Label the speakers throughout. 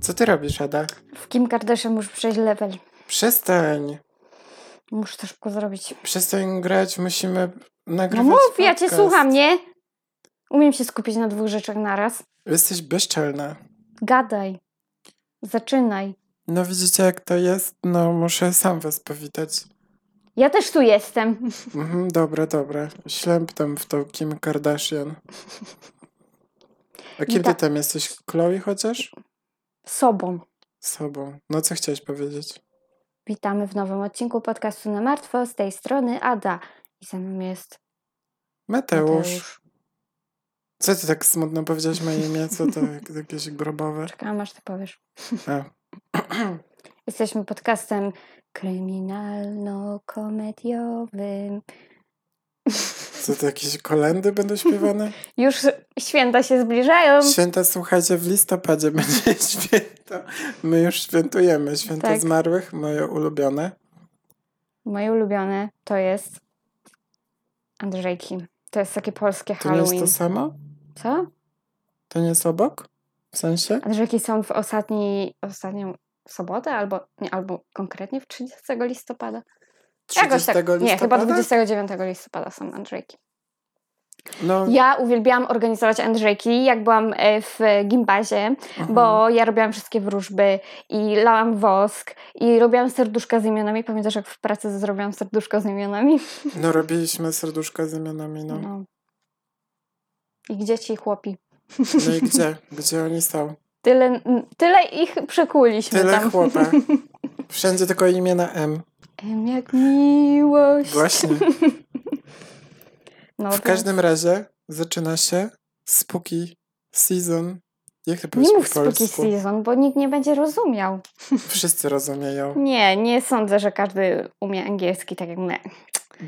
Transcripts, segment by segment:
Speaker 1: Co ty robisz, Ada?
Speaker 2: W Kim Kardashian muszę przejść level.
Speaker 1: Przestań.
Speaker 2: Muszę to szybko zrobić.
Speaker 1: Przestań grać, musimy
Speaker 2: No
Speaker 1: nagrywać
Speaker 2: mów, ja cię
Speaker 1: podcast.
Speaker 2: słucham, nie? Umiem się skupić na dwóch rzeczach naraz.
Speaker 1: Jesteś bezczelna.
Speaker 2: Gadaj. Zaczynaj.
Speaker 1: No widzicie, jak to jest? No muszę sam was powitać.
Speaker 2: Ja też tu jestem.
Speaker 1: Mhm, dobra, dobra. Ślęptam w to Kim Kardashian. A kiedy
Speaker 2: tak.
Speaker 1: tam jesteś? Chloe chociaż?
Speaker 2: Sobą.
Speaker 1: Z Sobą. No co chciałeś powiedzieć?
Speaker 2: Witamy w nowym odcinku podcastu na martwo. Z tej strony Ada. I ze mną jest
Speaker 1: Mateusz.
Speaker 2: Mateusz.
Speaker 1: Co ty tak smutno powiedziałeś moje imię? Co to jak- jakieś grobowe?
Speaker 2: Czekałam aż ty powiesz.
Speaker 1: A.
Speaker 2: Jesteśmy podcastem kryminalno-komediowym.
Speaker 1: Co to jakieś kolendy będą śpiewane?
Speaker 2: Już święta się zbliżają.
Speaker 1: Święta, słuchajcie, w listopadzie będzie święto. My już świętujemy. Święta
Speaker 2: Tak.
Speaker 1: zmarłych, moje ulubione.
Speaker 2: Moje ulubione to jest Andrzejki. To jest takie polskie
Speaker 1: To nie jest
Speaker 2: Halloween.
Speaker 1: to samo?
Speaker 2: Co?
Speaker 1: To nie jest obok? W sensie?
Speaker 2: Andrzejki są w ostatni, ostatnią sobotę albo, nie, albo konkretnie w 30 listopada.
Speaker 1: 30 listopada?
Speaker 2: tak. Nie, chyba 29 listopada są Andrzejki.
Speaker 1: No,
Speaker 2: Ja uwielbiałam organizować Andrzejki, jak byłam e, w gimbazie.
Speaker 1: mhm.
Speaker 2: bo ja robiłam wszystkie wróżby i lałam wosk i robiłam serduszka z imionami. Pamiętasz, jak w pracy zrobiłam serduszko z imionami?
Speaker 1: No robiliśmy serduszka z imionami, no.
Speaker 2: No. Ich dzieci i chłopi.
Speaker 1: No i gdzie? Gdzie oni są?
Speaker 2: Tyle, tyle ich przekuliśmy
Speaker 1: Tyle
Speaker 2: No tam.
Speaker 1: chłopa. Wszędzie tylko imię na M.
Speaker 2: Em, jak miłość.
Speaker 1: Właśnie.
Speaker 2: No,
Speaker 1: W
Speaker 2: więc
Speaker 1: każdym razie zaczyna się spooky season. Jak to powiedzieć
Speaker 2: Nie mów
Speaker 1: po polsku?
Speaker 2: spooky season, bo nikt nie będzie rozumiał.
Speaker 1: Wszyscy rozumieją.
Speaker 2: Nie, nie sądzę, że każdy umie angielski tak jak my.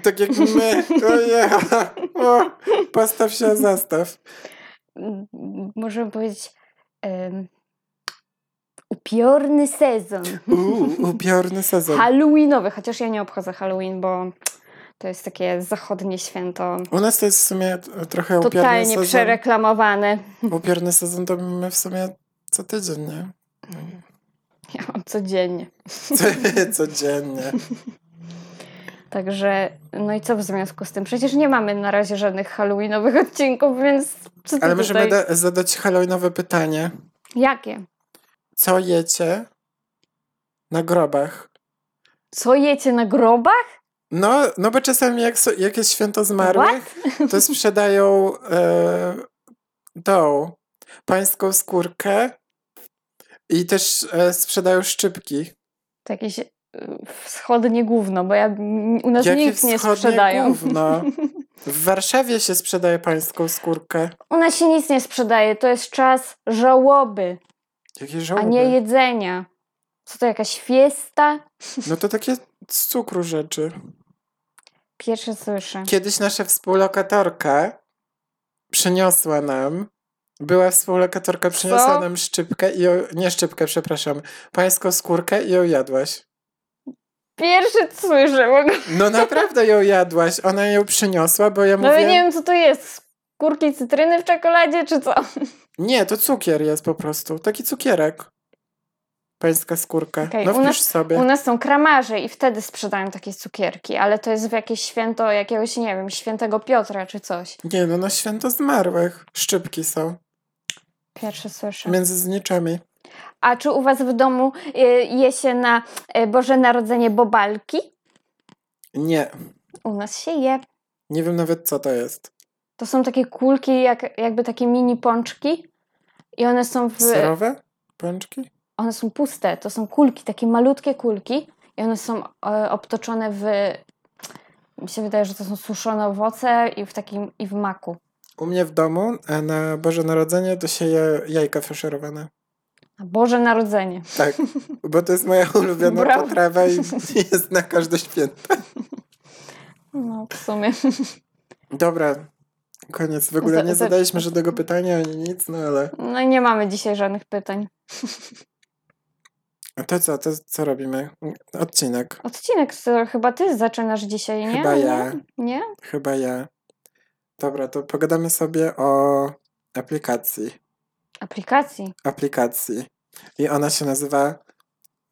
Speaker 1: Tak jak my. Oje. O, postaw się, zastaw.
Speaker 2: M- Możemy powiedzieć em, upiorny sezon.
Speaker 1: Uuu, upiorny sezon.
Speaker 2: Halloweenowy, chociaż ja nie obchodzę Halloween, bo to jest takie zachodnie święto.
Speaker 1: U nas to jest w sumie trochę upiorny
Speaker 2: Totalnie
Speaker 1: sezon.
Speaker 2: przereklamowane.
Speaker 1: Upiorny sezon to my w sumie co tydzień, nie?
Speaker 2: Ja mam codziennie.
Speaker 1: Codziennie.
Speaker 2: Także, no i co w związku z tym? Przecież nie mamy na razie żadnych halloweenowych odcinków, więc co ty
Speaker 1: Ale możemy
Speaker 2: tutaj?
Speaker 1: da- zadać halloweenowe pytanie.
Speaker 2: Jakie?
Speaker 1: Co jecie na grobach?
Speaker 2: Co jecie na grobach?
Speaker 1: No, no bo czasami jak, so, jak jest święto zmarłych, to sprzedają e, tą pańską skórkę i też e, sprzedają szczypki.
Speaker 2: To jakieś y, wschodnie gówno, bo ja, m- u nas
Speaker 1: Jakie
Speaker 2: nic No nie
Speaker 1: wschodnie
Speaker 2: sprzedają.
Speaker 1: gówno. W Warszawie się sprzedaje pańską skórkę.
Speaker 2: U nas się nic nie sprzedaje, to jest czas żałoby,
Speaker 1: Jakie
Speaker 2: a
Speaker 1: żałoby.
Speaker 2: nie jedzenia. Co to, jakaś fiesta?
Speaker 1: No to takie z cukru rzeczy.
Speaker 2: Pierwsze słyszę.
Speaker 1: Kiedyś nasza współlokatorka przyniosła nam, była współlokatorka, przyniosła
Speaker 2: Co?
Speaker 1: nam szczypkę i ją, nie szczypkę, przepraszam, pańską skórkę i ją jadłaś.
Speaker 2: Pierwszy słyszę w ogóle.
Speaker 1: No naprawdę ją jadłaś, ona ją przyniosła, bo ja
Speaker 2: No
Speaker 1: mówię,
Speaker 2: nie wiem, co to jest. Kurki cytryny w czekoladzie, czy co?
Speaker 1: nie, to cukier jest po prostu, taki cukierek. Pańska skórka.
Speaker 2: Okej,
Speaker 1: no
Speaker 2: u
Speaker 1: wpisz
Speaker 2: nas-
Speaker 1: sobie.
Speaker 2: U nas są kramarze i wtedy sprzedają takie cukierki, ale to jest w jakieś święto jakiegoś, nie wiem, świętego Piotra, czy coś.
Speaker 1: Nie no, na święto zmarłych. Szczypki są.
Speaker 2: Pierwsze słyszę.
Speaker 1: Między zniczami.
Speaker 2: A czy u was w domu y, je się na y, Boże Narodzenie bobalki?
Speaker 1: Nie.
Speaker 2: U nas się je.
Speaker 1: Nie wiem nawet, co to jest.
Speaker 2: To są takie kulki, jak, jakby takie mini pączki. I one są w...
Speaker 1: Serowe? Pączki?
Speaker 2: one są puste, to są kulki, takie malutkie kulki i one są e, obtoczone w, mi się wydaje, że to są suszone owoce i w takim, i w maku.
Speaker 1: U mnie w domu e, na Boże Narodzenie to się je jajka faszerowane.
Speaker 2: A Boże Narodzenie.
Speaker 1: Tak, bo to jest moja ulubiona
Speaker 2: Brawo.
Speaker 1: potrawa i jest na każde święto.
Speaker 2: No, w sumie.
Speaker 1: Dobra, koniec. W ogóle
Speaker 2: Z-
Speaker 1: nie
Speaker 2: z-
Speaker 1: zadaliśmy żadnego pytania ani nic, no ale...
Speaker 2: No i nie mamy dzisiaj żadnych pytań.
Speaker 1: A to co, to co robimy? Odcinek.
Speaker 2: Odcinek, co, chyba ty zaczynasz dzisiaj, nie?
Speaker 1: Chyba ja.
Speaker 2: Nie?
Speaker 1: Chyba ja. Dobra, to pogadamy sobie o aplikacji.
Speaker 2: Aplikacji?
Speaker 1: Aplikacji. I ona się nazywa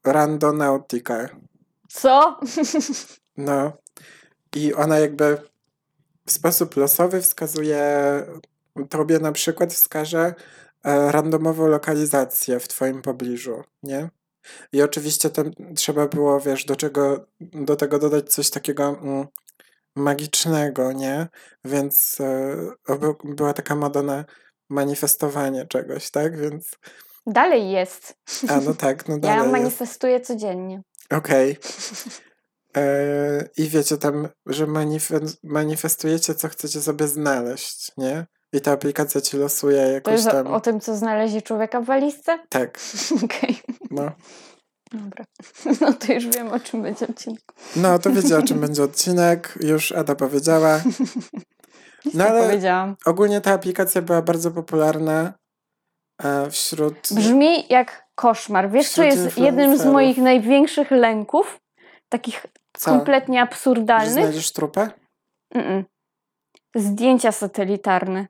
Speaker 1: Randonautica.
Speaker 2: Co?
Speaker 1: No. I ona jakby w sposób losowy wskazuje, tobie na przykład wskaże e, randomową lokalizację w twoim pobliżu, nie? I oczywiście tam trzeba było, wiesz, do czego, do tego dodać coś takiego mm, magicznego, nie? Więc e, oby- była taka moda na manifestowanie czegoś, tak? Więc,
Speaker 2: Dalej jest.
Speaker 1: a no tak, no
Speaker 2: Ja
Speaker 1: dalej jest.
Speaker 2: manifestuję codziennie.
Speaker 1: Okej. E, I wiecie tam, że manifest, manifestujecie, co chcecie sobie znaleźć, nie? I ta aplikacja ci losuje
Speaker 2: To
Speaker 1: jakoś
Speaker 2: jest
Speaker 1: tam.
Speaker 2: o, o tym, co znaleźli człowieka w walizce?
Speaker 1: Tak,
Speaker 2: Okej,
Speaker 1: no.
Speaker 2: dobra. No to już wiem, o czym będzie odcinek.
Speaker 1: No, to wiecie, o czym będzie odcinek. Już Ada powiedziała. No
Speaker 2: Tak
Speaker 1: ale
Speaker 2: powiedziałam.
Speaker 1: ogólnie ta aplikacja była bardzo popularna e, wśród.
Speaker 2: Brzmi jak koszmar. Wiesz, co
Speaker 1: Wśród
Speaker 2: jest jednym z
Speaker 1: influencerów.
Speaker 2: moich największych lęków? Takich
Speaker 1: Co?
Speaker 2: kompletnie
Speaker 1: Że
Speaker 2: absurdalnych?
Speaker 1: znajdziesz trupę?
Speaker 2: Mm-mm. Zdjęcia satelitarne.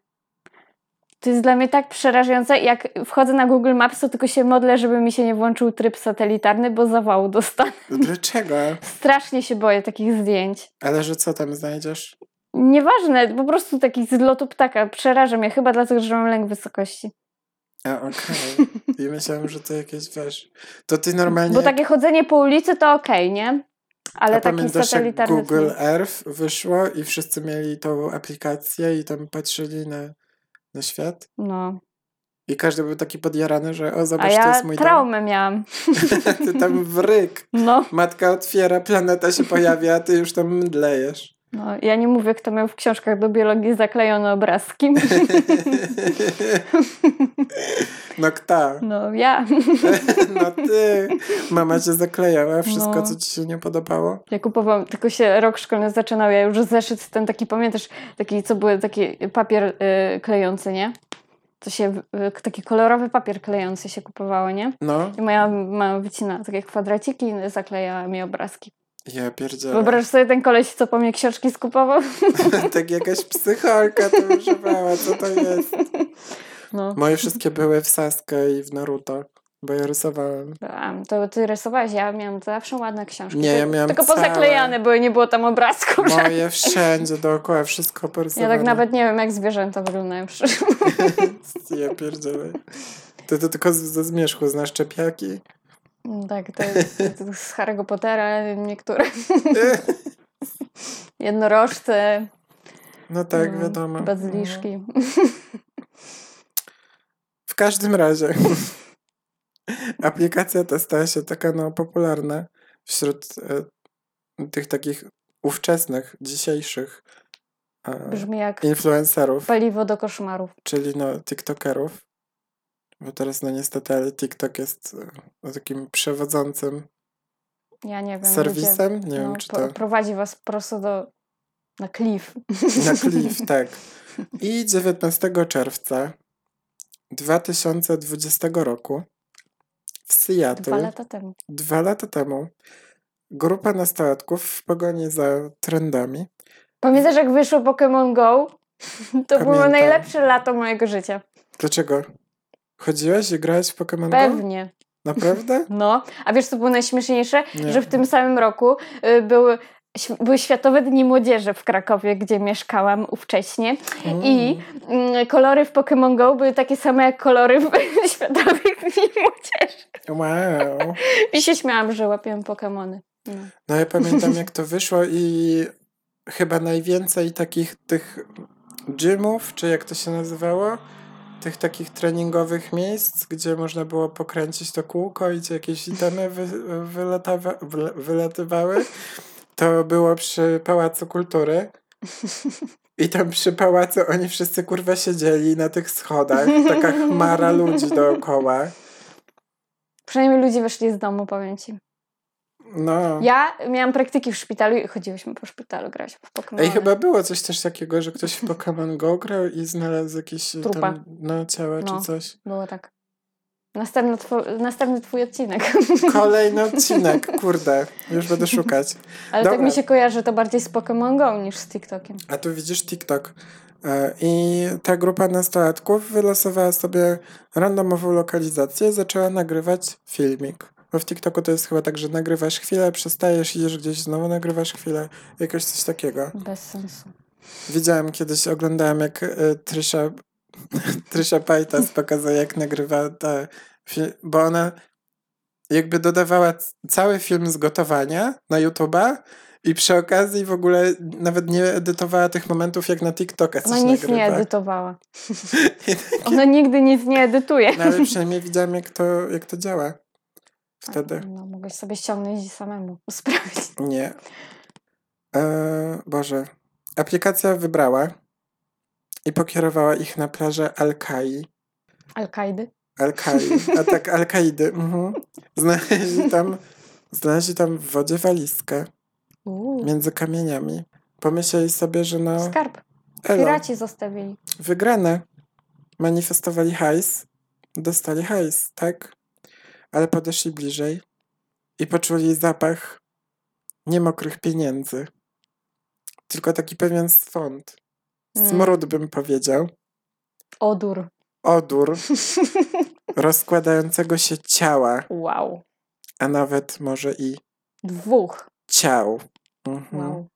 Speaker 2: To jest dla mnie tak przerażające. Jak wchodzę na Google Maps, to tylko się modlę, żeby mi się nie włączył tryb satelitarny, bo zawału dostanę.
Speaker 1: Dlaczego?
Speaker 2: Strasznie się boję takich zdjęć.
Speaker 1: Ale że co tam znajdziesz?
Speaker 2: Nieważne, po prostu taki z lotu ptaka przeraża mnie, chyba dlatego, że mam lęk wysokości.
Speaker 1: A, okej. I myślałem, że to jakieś wiesz. To ty normalnie.
Speaker 2: Bo tak takie chodzenie po ulicy to okej, nie? Ale
Speaker 1: No A
Speaker 2: taki
Speaker 1: pamiętasz, jak
Speaker 2: satelitarny.
Speaker 1: Google Earth wyszło i wszyscy mieli tą aplikację i tam patrzyli na, na świat?
Speaker 2: No.
Speaker 1: I każdy był taki podjarany, że o,
Speaker 2: A
Speaker 1: zobacz, to
Speaker 2: ja
Speaker 1: jest mój dom.
Speaker 2: traumę miałam.
Speaker 1: ty tam wryk.
Speaker 2: No.
Speaker 1: Matka otwiera, planeta się pojawia, a ty już tam mdlejesz.
Speaker 2: no. Ja nie mówię, kto miał w książkach do biologii zaklejone obrazki.
Speaker 1: no kto?
Speaker 2: No ja.
Speaker 1: No ty. Mama cię zaklejała, wszystko,
Speaker 2: No.
Speaker 1: co ci się nie podobało.
Speaker 2: Ja kupowałam, tylko się rok szkolny zaczynał, ja już zeszyt ten taki, pamiętasz, taki, co były taki papier y, klejący, nie? To się, y, taki kolorowy papier klejący się kupowało, nie?
Speaker 1: No,
Speaker 2: I moja mama wycina takie kwadraciki i zaklejała mi obrazki.
Speaker 1: ja pierdzielę.
Speaker 2: Wyobraź sobie ten koleś, co po mnie książki skupował.
Speaker 1: tak jakaś psycholka to używała, co to jest?
Speaker 2: No.
Speaker 1: Moje wszystkie były w Saskę i w Naruto, bo ja rysowałem.
Speaker 2: A, to ty rysowałeś, ja miałam zawsze ładne książki.
Speaker 1: Nie, ja
Speaker 2: Tylko-
Speaker 1: miałam
Speaker 2: Tylko
Speaker 1: całe. No,
Speaker 2: pozaklejane były, nie było tam obrazków. żadnych.
Speaker 1: Moje wszędzie dookoła, wszystko
Speaker 2: Ja
Speaker 1: porysowane.
Speaker 2: tak nawet nie wiem, jak zwierzęta wyglądają.
Speaker 1: Ja pierdzielę. Ty to tylko z- ze zmierzchu znasz czepiaki?
Speaker 2: No Tak, to, to z Harry'ego Pottera niektóre. Jednorożce,
Speaker 1: No tak,
Speaker 2: No,
Speaker 1: wiadomo. No.
Speaker 2: bazyliszki.
Speaker 1: W każdym razie aplikacja ta stała się taka no, popularna wśród e, tych takich ówczesnych, dzisiejszych e,
Speaker 2: Brzmi jak
Speaker 1: influencerów.
Speaker 2: paliwo do koszmarów.
Speaker 1: czyli no TikTokerów. Bo teraz no niestety, ale TikTok jest e, no, takim przewodzącym
Speaker 2: Ja nie wiem.
Speaker 1: serwisem. Nie
Speaker 2: Gdzie,
Speaker 1: wiem,
Speaker 2: no,
Speaker 1: czy
Speaker 2: po,
Speaker 1: to
Speaker 2: prowadzi was prosto do, na klif.
Speaker 1: na klif, tak. I 19 czerwca 2020 roku w Seattle,
Speaker 2: Dwa lata temu.
Speaker 1: dwa lata temu, grupa nastolatków w pogoni za trendami
Speaker 2: Pamiętasz, jak wyszło Pokémon Go? To było
Speaker 1: Pamiętam.
Speaker 2: najlepsze lato mojego życia.
Speaker 1: Dlaczego? Chodziłaś i grałaś w Pokémon Go?
Speaker 2: Pewnie.
Speaker 1: Naprawdę?
Speaker 2: No. A wiesz, co było najśmieszniejsze?
Speaker 1: Nie.
Speaker 2: że w tym samym roku y, były, św- były Światowe Dni Młodzieży w Krakowie, gdzie mieszkałam ówcześnie. I mm, kolory w Pokémon Go były takie same jak kolory w Światowych Dni Młodzieży.
Speaker 1: Wow.
Speaker 2: I się śmiałam, że łapiłam Pokémony. No.
Speaker 1: No ja pamiętam jak to wyszło i chyba najwięcej takich tych gymów, czy jak to się nazywało, tych takich treningowych miejsc, gdzie można było pokręcić to kółko i ci jakieś itemy wy, wylatawa, wyle- wylatywały, to było przy Pałacu Kultury. I tam przy pałacu oni wszyscy kurwa siedzieli na tych schodach, taka chmara ludzi dookoła.
Speaker 2: Przynajmniej ludzie wyszli z domu, powiem ci.
Speaker 1: No.
Speaker 2: Ja miałam praktyki w szpitalu i chodziłyśmy po szpitalu grać w Pokémony.
Speaker 1: Ej, chyba było coś też takiego, że ktoś w Pokémon Go grał i znalazł jakieś
Speaker 2: Trupa.
Speaker 1: tam no, ciała
Speaker 2: No.
Speaker 1: czy coś.
Speaker 2: Było tak. Następny, tw- następny twój odcinek.
Speaker 1: Kolejny odcinek, kurde. Już będę szukać.
Speaker 2: Ale
Speaker 1: Dobra.
Speaker 2: tak mi się kojarzy to bardziej z Pokémon Go niż z TikTokiem.
Speaker 1: A tu widzisz TikTok. E, I ta grupa nastolatków wylosowała sobie randomową lokalizację i zaczęła nagrywać filmik. Bo w TikToku to jest chyba tak, że nagrywasz chwilę, przestajesz, idziesz gdzieś, znowu nagrywasz chwilę. Jakoś coś takiego.
Speaker 2: Bez sensu.
Speaker 1: Widziałem kiedyś, oglądałem jak y, Trisha, Trisha
Speaker 2: Mm.
Speaker 1: Paytas pokazuje, jak nagrywa te film, bo ona jakby dodawała c- cały film z gotowania na YouTube'a i przy okazji w ogóle nawet nie edytowała tych momentów, jak na TikToka coś
Speaker 2: Ona nic nie
Speaker 1: nagrywa.
Speaker 2: edytowała. Ona nigdy nic nie edytuje.
Speaker 1: tak. No ale przynajmniej widziałem, jak to, jak to działa wtedy.
Speaker 2: No, mogłeś sobie ściągnąć i samemu sprawdzić.
Speaker 1: Nie. E, Boże. Aplikacja wybrała i pokierowała ich na plażę Alkai.
Speaker 2: Al-Kaidy.
Speaker 1: Al-Kai, atak Al-Kaidy. Mhm. Znaleźli tam, znaleźli tam w wodzie walizkę
Speaker 2: Uuu,
Speaker 1: między kamieniami. Pomyśleli sobie, że no,
Speaker 2: Skarb.
Speaker 1: elo,
Speaker 2: Piraci zostawili.
Speaker 1: wygrane. Manifestowali hajs, dostali hajs, tak? Ale podeszli bliżej i poczuli zapach niemokrych pieniędzy. Tylko taki pewien stąd.
Speaker 2: Mm.
Speaker 1: Smród bym powiedział.
Speaker 2: Odur.
Speaker 1: Odór rozkładającego się ciała.
Speaker 2: Wow.
Speaker 1: a nawet może i
Speaker 2: Dwóch.
Speaker 1: ciał. Mhm.
Speaker 2: Wow.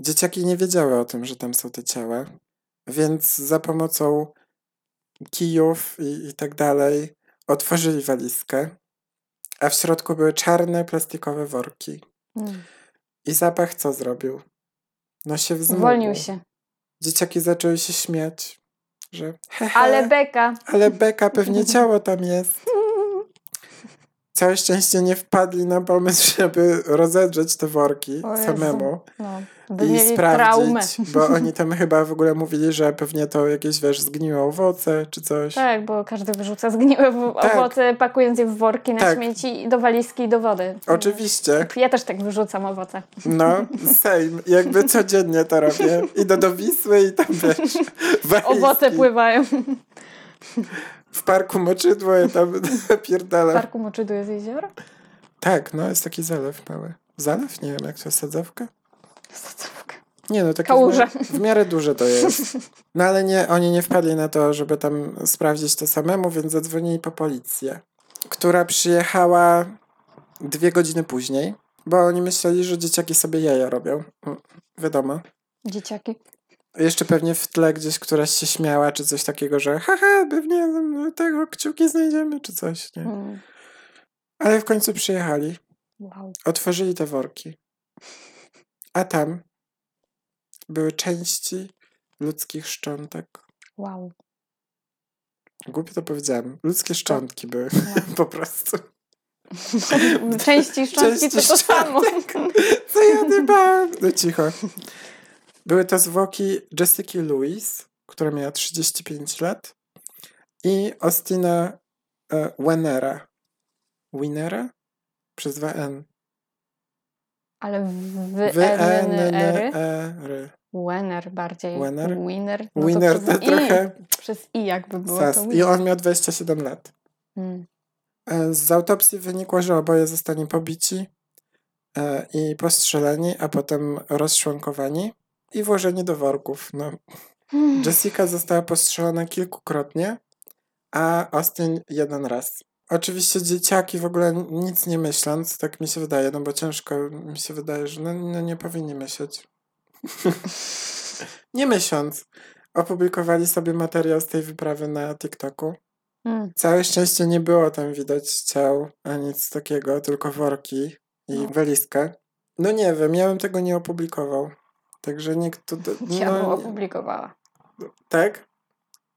Speaker 1: Dzieciaki nie wiedziały o tym, że tam są te ciała, więc za pomocą kijów i, i tak dalej otworzyli walizkę, a w środku były czarne plastikowe worki.
Speaker 2: Mm.
Speaker 1: I zapach co zrobił? No się wzmógł.
Speaker 2: Zwolnił się.
Speaker 1: Dzieciaki zaczęły się śmiać, że he, he,
Speaker 2: Ale beka.
Speaker 1: ale beka, pewnie ciało tam jest. Całe szczęście nie wpadli na pomysł, żeby rozedrzeć te worki
Speaker 2: O Jezu.
Speaker 1: samemu
Speaker 2: No, by
Speaker 1: i
Speaker 2: mieli traumę.
Speaker 1: sprawdzić, bo oni tam chyba w ogóle mówili, że pewnie to jakieś, wiesz, zgniłe owoce czy coś.
Speaker 2: Tak, bo każdy wyrzuca zgniłe w-
Speaker 1: Tak.
Speaker 2: owoce, pakując je w worki na
Speaker 1: Tak.
Speaker 2: śmieci, do walizki i do wody.
Speaker 1: Oczywiście,
Speaker 2: Ja też tak wyrzucam owoce.
Speaker 1: no, same, jakby codziennie to robię. Idę do Wisły i tam, wiesz, walizki.
Speaker 2: Owoce pływają.
Speaker 1: W parku Moczydło i tam
Speaker 2: W
Speaker 1: pierdalam.
Speaker 2: parku Moczydu jest jezioro?
Speaker 1: Tak, no, jest taki zalew mały. Zalew? Nie wiem, jak to jest sadzawka?
Speaker 2: Sadzawka.
Speaker 1: Nie, no takie w
Speaker 2: Kałuże.
Speaker 1: miarę, w miarę duże to jest. No ale nie, oni nie wpadli na to, żeby tam sprawdzić to samemu, więc zadzwonili po policję, która przyjechała dwie godziny później, bo oni myśleli, że dzieciaki sobie jaja robią. Mm, Wiadomo.
Speaker 2: Dzieciaki.
Speaker 1: Jeszcze pewnie w tle gdzieś któraś się śmiała, czy coś takiego, że haha, pewnie mm, tego kciuki znajdziemy, czy coś, nie?
Speaker 2: Mm.
Speaker 1: Ale w końcu przyjechali,
Speaker 2: Wow.
Speaker 1: otworzyli te worki, a tam były części ludzkich szczątek.
Speaker 2: Wow.
Speaker 1: Głupio to powiedziałem. Ludzkie szczątki były
Speaker 2: No.
Speaker 1: po prostu.
Speaker 2: Części szczątki to
Speaker 1: Części tak.
Speaker 2: to samo.
Speaker 1: Co ja dbałem? No cicho. Były to zwłoki Jessica Lewis, która miała 35 lat i Austina e, Wenera. Winera? Przez 2N.
Speaker 2: Ale w E
Speaker 1: E
Speaker 2: WNR.
Speaker 1: W-N-N-E-R.
Speaker 2: Winner bardziej.
Speaker 1: Wener?
Speaker 2: Winner. No
Speaker 1: Winner
Speaker 2: przez
Speaker 1: to
Speaker 2: I.
Speaker 1: trochę
Speaker 2: Przez I jakby było
Speaker 1: sas.
Speaker 2: to
Speaker 1: I
Speaker 2: winner.
Speaker 1: on miał 27 lat.
Speaker 2: Mm.
Speaker 1: E, Z autopsji wynikło, że oboje zostali pobici e, i postrzeleni, a potem rozczłonkowani i włożeni do worków. No, Jessica została postrzelona kilkukrotnie, a Austin jeden raz. Oczywiście dzieciaki w ogóle nic nie myśląc, tak mi się wydaje, no bo ciężko mi się wydaje, że no, no nie powinni myśleć. nie myśląc, opublikowali sobie materiał z tej wyprawy na TikToku.
Speaker 2: Mm.
Speaker 1: Całe szczęście nie było tam widać ciał, a nic takiego, tylko worki i
Speaker 2: No.
Speaker 1: walizkę. No nie wiem, ja bym tego nie opublikował. Także nikt tu... do-
Speaker 2: Ja bym
Speaker 1: No, nie-
Speaker 2: opublikowała.
Speaker 1: tak?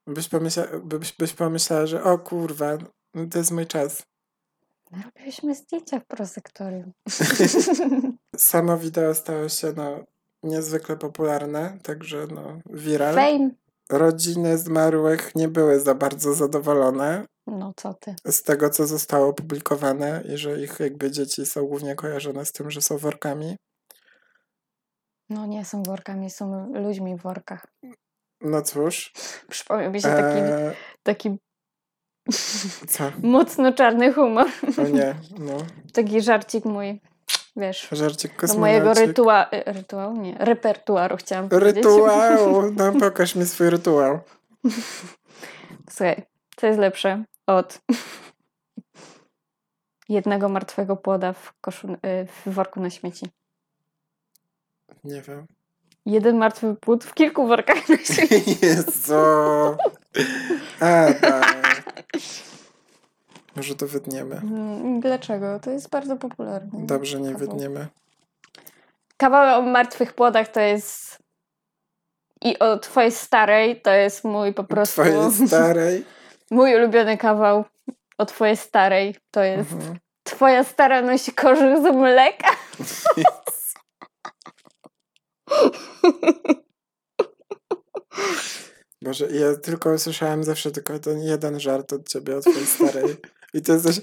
Speaker 1: Byś, pomyśla, byś, byś pomyślała, że o kurwa, no to jest mój czas.
Speaker 2: No, Robiliśmy zdjęcia w prosektorium.
Speaker 1: Samo wideo stało się no, niezwykle popularne, także no, viral.
Speaker 2: Fame.
Speaker 1: Rodziny zmarłych nie były za bardzo zadowolone,
Speaker 2: No co ty.
Speaker 1: z tego, co zostało opublikowane i że ich jakby dzieci są głównie kojarzone z tym, że są workami.
Speaker 2: No nie są workami, są ludźmi w workach.
Speaker 1: No cóż.
Speaker 2: Przypomniał mi się taki,
Speaker 1: e,
Speaker 2: taki
Speaker 1: Co?
Speaker 2: Mocno czarny humor.
Speaker 1: O nie, no.
Speaker 2: Taki żarcik mój, wiesz,
Speaker 1: Żarcik
Speaker 2: do mojego
Speaker 1: kosmonaucik.
Speaker 2: rytua... y, rytuału? Nie, repertuaru chciałam powiedzieć.
Speaker 1: Rytuał! No pokaż mi swój rytuał.
Speaker 2: Słuchaj, co jest lepsze od jednego martwego płoda w, koszu, y, w worku na śmieci?
Speaker 1: Nie wiem.
Speaker 2: Jeden martwy płód w kilku workach na śmieci.
Speaker 1: Jezu! A, tak. Może to wytniemy.
Speaker 2: Mm, Dlaczego? To jest bardzo popularne.
Speaker 1: Dobrze, nie
Speaker 2: Kawał.
Speaker 1: wytniemy.
Speaker 2: Kawał o martwych płodach to jest... I o twojej starej to jest mój po prostu...
Speaker 1: Twojej starej.
Speaker 2: Mój ulubiony kawał o twojej starej to jest...
Speaker 1: Mhm.
Speaker 2: Twoja stara nosi kożuch z mleka.
Speaker 1: Boże, ja tylko usłyszałem zawsze tylko ten jeden żart od ciebie, od twojej starej. I to jest też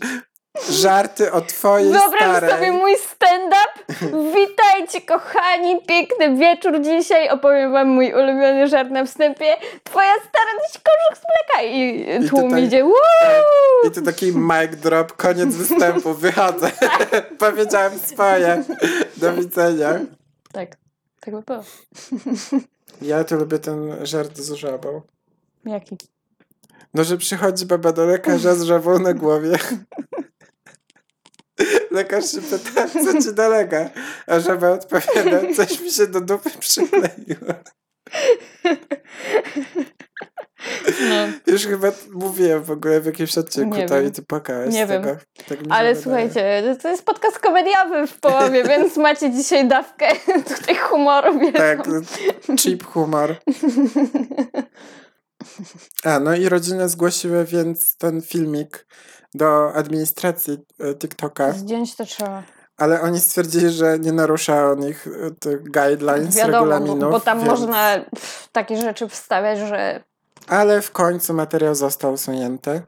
Speaker 1: żarty o twojej
Speaker 2: Wyobraź
Speaker 1: starej.
Speaker 2: sobie mój stand-up. Witajcie, kochani. Piękny wieczór dzisiaj. Opowiem wam mój ulubiony żart na wstępie. Twoja stara nosi kożuch z mleka. I
Speaker 1: I
Speaker 2: tłum
Speaker 1: tutaj- tak.
Speaker 2: idzie. Woo!
Speaker 1: I to taki mic drop, koniec występu, wychodzę. Powiedziałem swoje. Do widzenia.
Speaker 2: Tak, tak by było.
Speaker 1: Ja to lubię ten żart z żabą.
Speaker 2: Jaki?
Speaker 1: No, że przychodzi baba do lekarza z żabą na głowie. Lekarz się pyta, co ci dolega? A żaba odpowiada, coś mi się do dupy przykleiło.
Speaker 2: No.
Speaker 1: Już chyba mówiłem w ogóle w jakimś odcinku
Speaker 2: Nie
Speaker 1: to
Speaker 2: wiem.
Speaker 1: i ty płakałaś
Speaker 2: Nie
Speaker 1: z
Speaker 2: wiem.
Speaker 1: tego. Tak mi się
Speaker 2: Ale
Speaker 1: wydaje.
Speaker 2: słuchajcie, to jest podcast komediowy w połowie, więc macie dzisiaj dawkę tutaj humoru. no. wielką.
Speaker 1: Tak, cheap humor. A, no i rodziny zgłosiły więc ten filmik do administracji e, TikToka,
Speaker 2: Zdjąć to trzeba.
Speaker 1: ale oni stwierdzili, że nie narusza on ich e, tych guidelines,
Speaker 2: Wiadomo, bo,
Speaker 1: regulaminów.
Speaker 2: bo tam
Speaker 1: więc...
Speaker 2: można pff, takie rzeczy wstawiać, że
Speaker 1: Ale w końcu materiał został usunięty.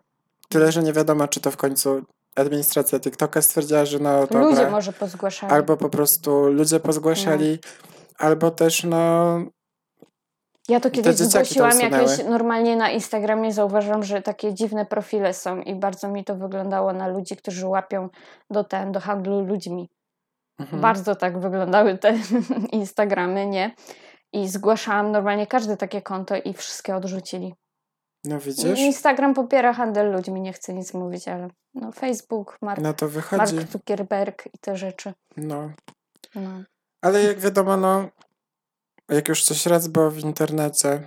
Speaker 1: Tyle, że nie wiadomo, czy to w końcu administracja TikToka stwierdziła, że no dobra.
Speaker 2: ludzie może No. pozgłaszają.
Speaker 1: Albo po prostu ludzie pozgłaszali, albo też no...
Speaker 2: Ja to kiedyś
Speaker 1: dzieciaki to
Speaker 2: zgłosiłam
Speaker 1: usunęły.
Speaker 2: jakieś, normalnie na Instagramie zauważyłam, że takie dziwne profile są i bardzo mi to wyglądało na ludzi, którzy łapią do ten, do handlu ludźmi.
Speaker 1: mhm.
Speaker 2: Bardzo tak wyglądały te Instagramy, nie? I zgłaszałam normalnie każde takie konto i wszystkie odrzucili.
Speaker 1: No widzisz?
Speaker 2: Instagram popiera handel ludźmi, nie chcę nic mówić, ale no Facebook, Mark,
Speaker 1: No to
Speaker 2: Mark
Speaker 1: wychodzi.
Speaker 2: Zuckerberg i te rzeczy.
Speaker 1: No.
Speaker 2: No.
Speaker 1: Ale jak wiadomo, no, jak już coś raz było w internecie,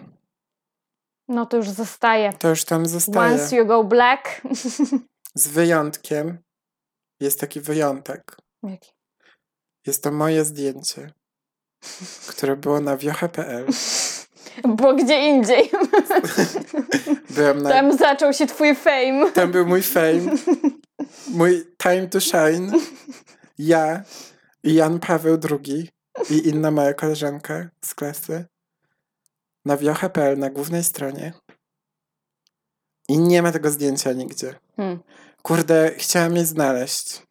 Speaker 2: no to już zostaje.
Speaker 1: to już tam zostaje.
Speaker 2: Once you go black.
Speaker 1: Z wyjątkiem jest taki wyjątek.
Speaker 2: Jaki?
Speaker 1: Jest to moje zdjęcie, które było na wiocha.pl.
Speaker 2: Bo gdzie indziej.
Speaker 1: Byłem na... Tam...
Speaker 2: Tam zaczął się twój fame.
Speaker 1: był mój fame, mój time to shine. Ja i Jan Paweł II i inna moja koleżanka z klasy na wiocha.pl na głównej stronie. I nie ma tego zdjęcia nigdzie.
Speaker 2: Hmm.
Speaker 1: Kurde, chciałam jej znaleźć.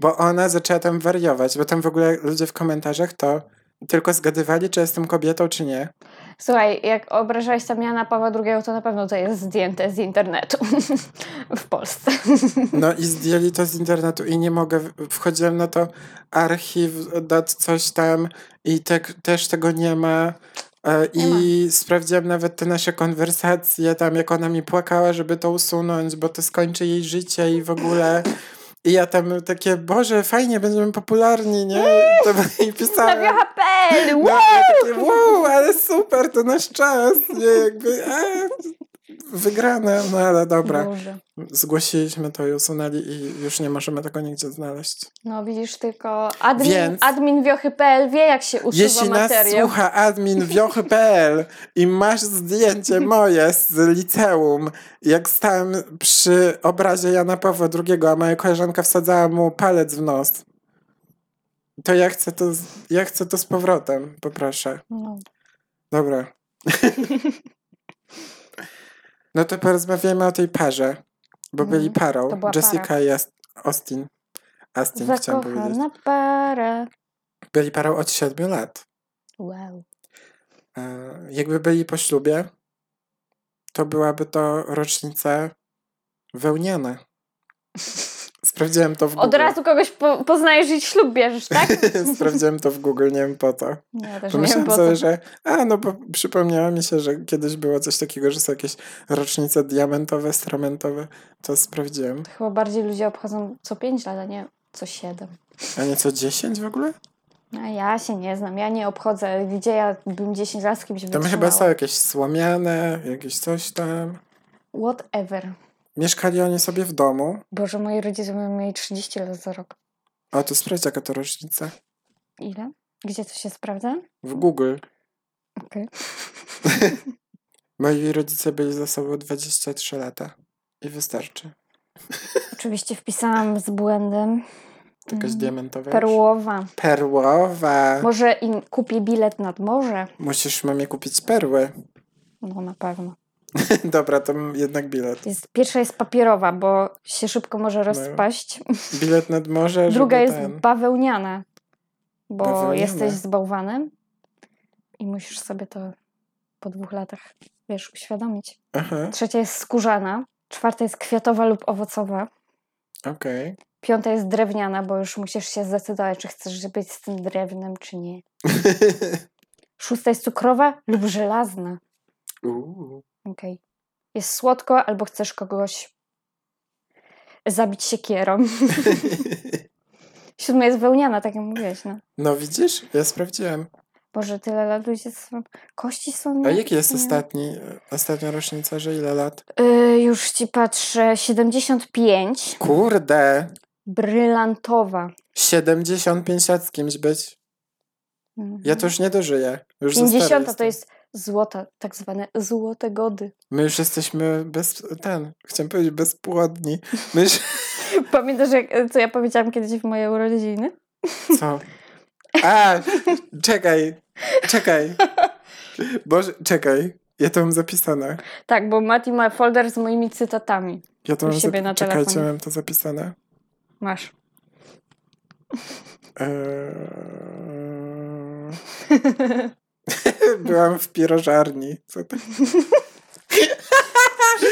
Speaker 1: Bo ona zaczęła tam wariować, bo tam w ogóle ludzie w komentarzach to tylko zgadywali, czy jestem kobietą, czy nie.
Speaker 2: Słuchaj, jak obrażałeś tam Jana Pawła II, to na pewno to jest zdjęte z internetu w Polsce.
Speaker 1: No i zdjęli to z internetu i nie mogę. w- Wchodziłem na to archiw, dat coś tam i tak też tego nie ma. E, I sprawdziłem nawet te nasze konwersacje tam, jak ona mi płakała, żeby to usunąć, bo to skończy jej życie i w ogóle. I ja tam takie, Boże, fajnie, będziemy popularni, nie? I To i
Speaker 2: Na
Speaker 1: pisałem.
Speaker 2: BHPL!
Speaker 1: No, ja takie, wow, ale super, to nasz czas, nie? Jakby, a, wygrane, no ale dobra.
Speaker 2: Boże.
Speaker 1: Zgłosiliśmy to i usunęli i już nie możemy tego nigdzie znaleźć.
Speaker 2: No widzisz tylko, admin,
Speaker 1: Więc-
Speaker 2: admin wiochy.pl wie jak się usuwa
Speaker 1: Jeśli nas
Speaker 2: materiał.
Speaker 1: słucha admin wiochy.pl i masz zdjęcie moje z liceum, jak stałem przy obrazie Jana Pawła II, a moja koleżanka wsadzała mu palec w nos, to ja chcę to, z- ja chcę to z powrotem, poproszę.
Speaker 2: No.
Speaker 1: Dobra. No to porozmawiajmy o tej parze, bo
Speaker 2: Mhm.
Speaker 1: byli parą.
Speaker 2: To była
Speaker 1: Jessica
Speaker 2: para.
Speaker 1: i Ast- Austin. Austin chciałam powiedzieć.
Speaker 2: Zakochana para.
Speaker 1: Byli parą od 7 lat.
Speaker 2: Wow.
Speaker 1: E, Jakby byli po ślubie, to byłaby to rocznica Wełniane. Sprawdziłem to w Google.
Speaker 2: Od razu kogoś po, poznajesz i ślub bierzesz, tak?
Speaker 1: Sprawdziłem to w Google, nie wiem po to.
Speaker 2: Nie, też nie wiem
Speaker 1: Pomyślałem
Speaker 2: po
Speaker 1: sobie,
Speaker 2: co.
Speaker 1: że a no bo przypomniało mi się, że kiedyś było coś takiego, że są jakieś rocznice diamentowe, stramentowe. To sprawdziłem.
Speaker 2: Chyba bardziej ludzie obchodzą co 5 lat, a nie co 7.
Speaker 1: A nie co 10 w ogóle?
Speaker 2: A ja się nie znam, ja nie obchodzę. Gdzie ja bym 10 lat z kimś
Speaker 1: Tam
Speaker 2: wytrzymała?
Speaker 1: chyba są jakieś słomiane, jakieś coś tam.
Speaker 2: Whatever.
Speaker 1: Mieszkali oni sobie w domu.
Speaker 2: Boże, moi rodzice będą mieli 30 lat za rok.
Speaker 1: A to sprawdź jaka to rocznica.
Speaker 2: Ile? Gdzie to się sprawdza?
Speaker 1: W Google.
Speaker 2: Okej.
Speaker 1: Moi rodzice byli ze sobą 23 lata. I wystarczy.
Speaker 2: Oczywiście wpisałam z błędem.
Speaker 1: Jakaś
Speaker 2: Mm,
Speaker 1: diamentowa. już.
Speaker 2: Perłowa.
Speaker 1: Perłowa.
Speaker 2: Może im kupię bilet nad morze?
Speaker 1: Musisz mamie kupić perłę.
Speaker 2: No na pewno.
Speaker 1: Dobra, to m- jednak bilet.
Speaker 2: Jest, pierwsza jest papierowa, bo się szybko może rozpaść.
Speaker 1: Bilet nad morze, żeby
Speaker 2: Druga jest
Speaker 1: No. ten...
Speaker 2: bawełniana, bo
Speaker 1: Bawełniana.
Speaker 2: jesteś z bałwanem i musisz sobie to po dwóch latach, wiesz, uświadomić.
Speaker 1: Aha,
Speaker 2: Trzecia jest skórzana, czwarta jest kwiatowa lub owocowa,
Speaker 1: okej.
Speaker 2: piąta jest drewniana, bo już musisz się zdecydować, czy chcesz być z tym drewnem, czy nie. Szósta jest cukrowa lub żelazna.
Speaker 1: Uuu.
Speaker 2: Okej. Jest słodko, albo chcesz kogoś zabić siekierą. Siódma jest wełniana, tak jak mówiłeś, no.
Speaker 1: No widzisz? Ja sprawdziłem.
Speaker 2: Boże, tyle lat ludzie są... Kości są...
Speaker 1: A
Speaker 2: nie-
Speaker 1: jaki jest
Speaker 2: nie-
Speaker 1: ostatni, ostatnia rocznica, że ile lat?
Speaker 2: Y, już ci patrzę. 75.
Speaker 1: Kurde!
Speaker 2: Brylantowa.
Speaker 1: 75 lat z kimś być.
Speaker 2: Mhm.
Speaker 1: Ja to już nie dożyję. Już za stary
Speaker 2: 50 to
Speaker 1: jestem.
Speaker 2: jest złota, tak zwane złote gody.
Speaker 1: My już jesteśmy bez... ten... Chciałem powiedzieć bezpłodni. My już...
Speaker 2: Pamiętasz, jak, e, co ja powiedziałam kiedyś w moje urodziny?
Speaker 1: Co? A! Czekaj! Czekaj! Boże, czekaj. Ja to mam zapisane.
Speaker 2: Tak, bo Mati ma folder z moimi cytatami.
Speaker 1: Ja to
Speaker 2: U
Speaker 1: mam
Speaker 2: siebie na
Speaker 1: zapisane. Czekajcie,
Speaker 2: telefonie.
Speaker 1: mam to zapisane.
Speaker 2: Masz.
Speaker 1: Eee... Byłam w pirożarni. Co to?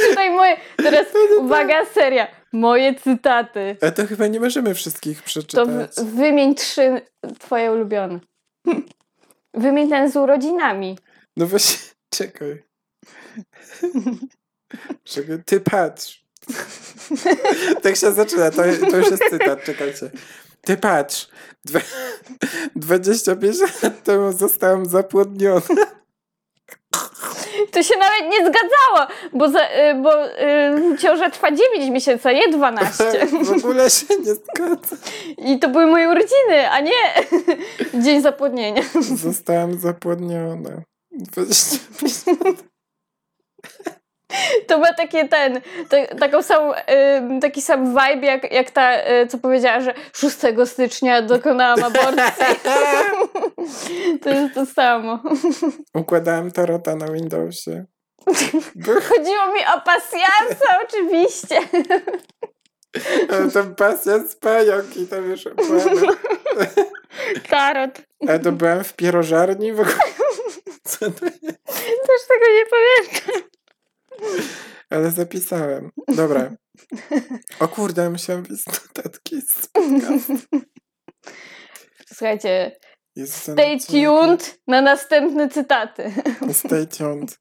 Speaker 2: Tutaj No moje, teraz
Speaker 1: No tak.
Speaker 2: uwaga, seria. Moje cytaty.
Speaker 1: Ale to chyba nie możemy wszystkich
Speaker 2: To
Speaker 1: przeczytać.
Speaker 2: w, wymień trzy twoje ulubione. Wymień ten z urodzinami.
Speaker 1: No właśnie, czekaj. Czekaj, ty patrz. tak się zaczyna, to, to już jest cytat, czekajcie. Ty patrz, Dwa, 25 lat temu zostałam zapłodniona.
Speaker 2: To się nawet nie zgadzało, bo, za, y, bo y, ciąża trwa 9 miesięcy, a nie 12.
Speaker 1: W ogóle się nie zgadza.
Speaker 2: I to były moje urodziny, a nie dzień zapłodnienia.
Speaker 1: Zostałam zapłodniona. 25
Speaker 2: To ma takie ten, te, taką samą, y, taki sam vibe, jak, jak ta, y, co powiedziała, że 6 stycznia dokonałam aborcji. To jest to samo.
Speaker 1: Układałem tarota na Windowsie.
Speaker 2: Chodziło mi o pasjansa, oczywiście.
Speaker 1: Ale tam pasja z pająk i tam już opowiadam.
Speaker 2: Tarot.
Speaker 1: Ale to byłem w pierożarni w ogóle. Co to jest?
Speaker 2: Też tego nie pamiętam.
Speaker 1: Ale zapisałem. Dobra. O kurde, musiałem wziąć notatki. z-
Speaker 2: Słuchajcie,
Speaker 1: Jezu, ten
Speaker 2: stay
Speaker 1: odcinek.
Speaker 2: tuned na następne cytaty.
Speaker 1: Stay tuned.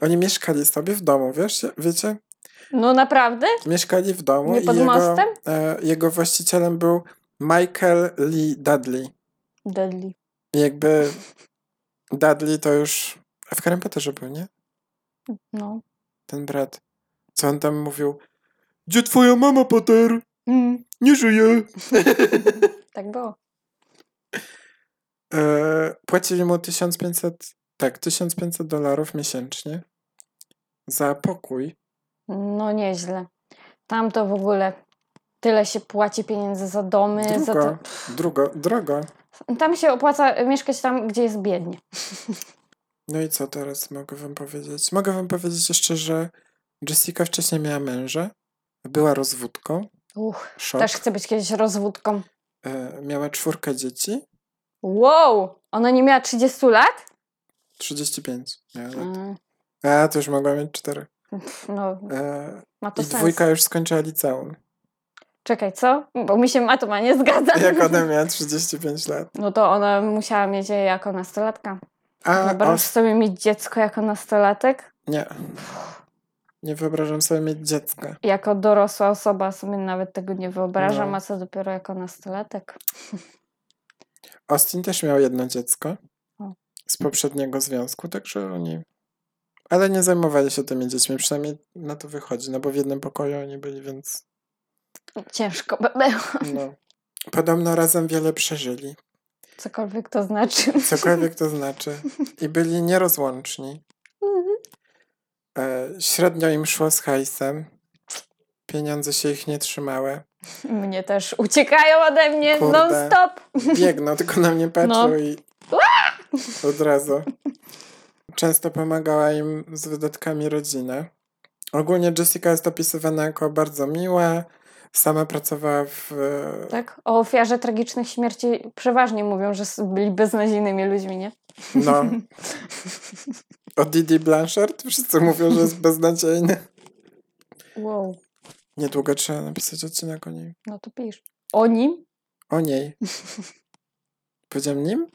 Speaker 1: Oni mieszkali sobie w domu, wiesz? Wiecie?
Speaker 2: No naprawdę?
Speaker 1: Mieszkali w domu.
Speaker 2: Nie pod
Speaker 1: i jego,
Speaker 2: mostem?
Speaker 1: E, jego właścicielem był Michael Lee Dudley.
Speaker 2: Dudley.
Speaker 1: jakby Dudley to już a w Harry Potterze był, nie?
Speaker 2: No.
Speaker 1: Ten brat. Co on tam mówił? Gdzie twoja mama, Potter?
Speaker 2: Mm,
Speaker 1: Nie żyje.
Speaker 2: tak było.
Speaker 1: E, płacili mu 1500, tak, 1500 dolarów miesięcznie za pokój.
Speaker 2: No nieźle. Tam to w ogóle tyle się płaci pieniędzy za domy. Za
Speaker 1: Drogo,
Speaker 2: to...
Speaker 1: drogo, drogo.
Speaker 2: Tam się opłaca mieszkać tam, gdzie jest biednie.
Speaker 1: No i co teraz mogę wam powiedzieć? Mogę wam powiedzieć jeszcze, że Jessica wcześniej miała męża, była rozwódką,
Speaker 2: Uch,
Speaker 1: szok,
Speaker 2: też chcę być kiedyś rozwódką.
Speaker 1: e, miała czwórkę dzieci,
Speaker 2: Wow! Ona nie miała 30 lat?
Speaker 1: 35 miała lat.
Speaker 2: Mm,
Speaker 1: E, A, to już mogła mieć cztery.
Speaker 2: No,
Speaker 1: E,
Speaker 2: ma to tak.
Speaker 1: I
Speaker 2: sens.
Speaker 1: dwójka już skończyła liceum.
Speaker 2: Czekaj, co? Bo mi się matma nie zgadza.
Speaker 1: Jak ona miała 35 lat.
Speaker 2: No to ona musiała mieć je jako nastolatka.
Speaker 1: A,
Speaker 2: Wyobrażasz
Speaker 1: os-
Speaker 2: sobie mieć dziecko jako nastolatek?
Speaker 1: nie. Nie wyobrażam sobie mieć dziecka.
Speaker 2: Jako dorosła osoba sobie nawet tego nie wyobrażam,
Speaker 1: No.
Speaker 2: a co dopiero jako nastolatek?
Speaker 1: Austin też miał jedno dziecko
Speaker 2: O.
Speaker 1: z poprzedniego związku, także oni. Ale nie zajmowali się tymi dziećmi, przynajmniej na to wychodzi, no bo w jednym pokoju oni byli, więc.
Speaker 2: Ciężko by było,
Speaker 1: No. Podobno razem wiele przeżyli,
Speaker 2: cokolwiek to znaczy.
Speaker 1: cokolwiek to znaczy. I byli nierozłączni. E, średnio im szło z hajsem. Pieniądze się ich nie trzymały.
Speaker 2: Mnie też uciekają ode mnie
Speaker 1: Kurde.
Speaker 2: non-stop.
Speaker 1: Biegną, tylko na mnie patrzą
Speaker 2: No.
Speaker 1: i od razu. Często pomagała im z wydatkami rodzina. Ogólnie Jessica jest opisywana jako bardzo miła. Sama pracowała w... e,
Speaker 2: Tak? O ofiarze tragicznych śmierci przeważnie mówią, że s- byli beznadziejnymi ludźmi, nie?
Speaker 1: No. O Didi Blanchard? Wszyscy mówią, że jest beznadziejny.
Speaker 2: Wow,
Speaker 1: Niedługo trzeba napisać odcinek o niej.
Speaker 2: no to pisz. O nim?
Speaker 1: O niej. Powiedziałem nim?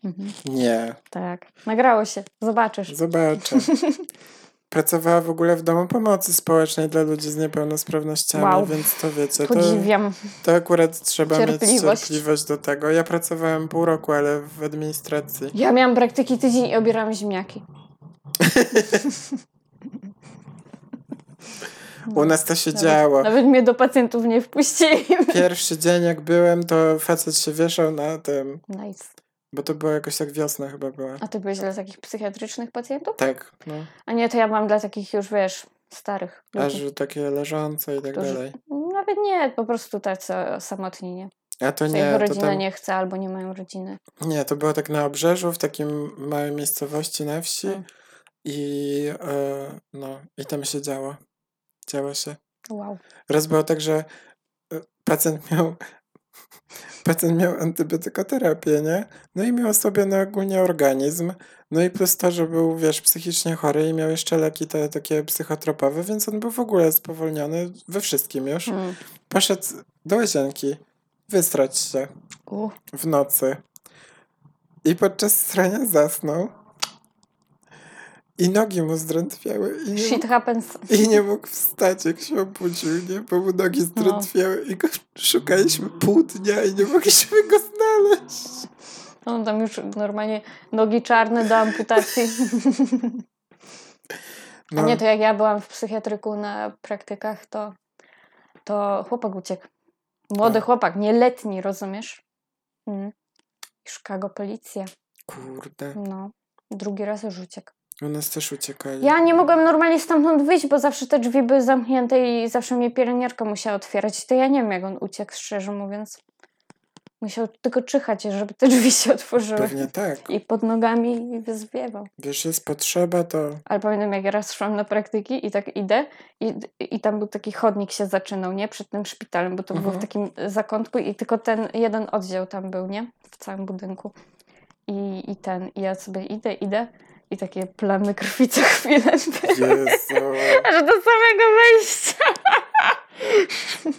Speaker 1: Nie.
Speaker 2: Mhm, Tak, nagrało się, zobaczysz.
Speaker 1: Zobaczę. Pracowała w ogóle w domu pomocy społecznej dla ludzi z niepełnosprawnościami,
Speaker 2: Wow.
Speaker 1: więc to wiecie, No to,
Speaker 2: Podziwiam.
Speaker 1: to akurat trzeba mieć
Speaker 2: Cierpliwość.
Speaker 1: cierpliwość do tego. Ja pracowałem pół roku, ale w administracji.
Speaker 2: Ja miałam praktyki tydzień i obierałam ziemniaki.
Speaker 1: U nas to się
Speaker 2: Nawet-
Speaker 1: działo.
Speaker 2: Nawet mnie do pacjentów nie wpuścili.
Speaker 1: Pierwszy dzień jak byłem, to facet się wieszał na tym,
Speaker 2: Nice.
Speaker 1: bo to było jakoś tak wiosna chyba była.
Speaker 2: A ty byłeś dla takich psychiatrycznych pacjentów?
Speaker 1: Tak, no.
Speaker 2: A nie, to ja byłam dla takich już, wiesz, starych
Speaker 1: Aż
Speaker 2: ludzi.
Speaker 1: takie leżące i tak
Speaker 2: Którzy-
Speaker 1: dalej.
Speaker 2: Nawet nie, po prostu tacy samotni, nie?
Speaker 1: A to
Speaker 2: Co
Speaker 1: nie,
Speaker 2: ich
Speaker 1: to
Speaker 2: rodzina
Speaker 1: tam,
Speaker 2: nie chce albo nie mają rodziny.
Speaker 1: nie, to było tak na obrzeżu, w takim małej miejscowości na wsi.
Speaker 2: Mm.
Speaker 1: I e, no, i tam się działo. Działo się.
Speaker 2: Wow.
Speaker 1: Raz było tak, że e, pacjent miał pacjent miał antybiotykoterapię, nie? No i miał sobie no, ogólnie organizm. No i plus to, że był, wiesz, psychicznie chory i miał jeszcze leki te takie psychotropowe, więc on był w ogóle spowolniony we wszystkim już.
Speaker 2: Mm.
Speaker 1: Poszedł do łazienki, wystrać się
Speaker 2: U.
Speaker 1: w nocy i podczas strania zasnął i nogi mu zdrętwiały i nie,
Speaker 2: Shit happens.
Speaker 1: i nie mógł wstać, jak się obudził, nie? Bo mu nogi
Speaker 2: No.
Speaker 1: zdrętwiały i go szukaliśmy pół dnia i nie mogliśmy go znaleźć.
Speaker 2: On No, tam już normalnie nogi czarne do amputacji. A
Speaker 1: No,
Speaker 2: nie, to jak ja byłam w psychiatryku na praktykach, to, to chłopak uciekł. Młody
Speaker 1: A.
Speaker 2: chłopak, nieletni, rozumiesz? Mm. Chicago policja.
Speaker 1: kurde,
Speaker 2: No. Drugi raz już uciekł.
Speaker 1: u nas też uciekali.
Speaker 2: Ja nie mogłam normalnie stamtąd wyjść, bo zawsze te drzwi były zamknięte i zawsze mnie pielęgniarka musiała otwierać. To ja nie wiem, jak on uciekł, szczerze mówiąc. Musiał tylko czyhać, żeby te drzwi się otworzyły.
Speaker 1: Pewnie tak.
Speaker 2: I pod nogami zwiewał.
Speaker 1: Wiesz, jest potrzeba, to...
Speaker 2: Ale pamiętam, jak ja raz szłam na praktyki i tak idę i, i tam był taki chodnik się zaczynał, nie? Przed tym szpitalem, bo to było w
Speaker 1: Mhm.
Speaker 2: takim zakątku i tylko ten jeden oddział tam był, nie? W całym budynku. I, i ten, i ja sobie idę, idę i takie plamy krwi co chwilę były.
Speaker 1: Jezu,
Speaker 2: Aż do samego wejścia.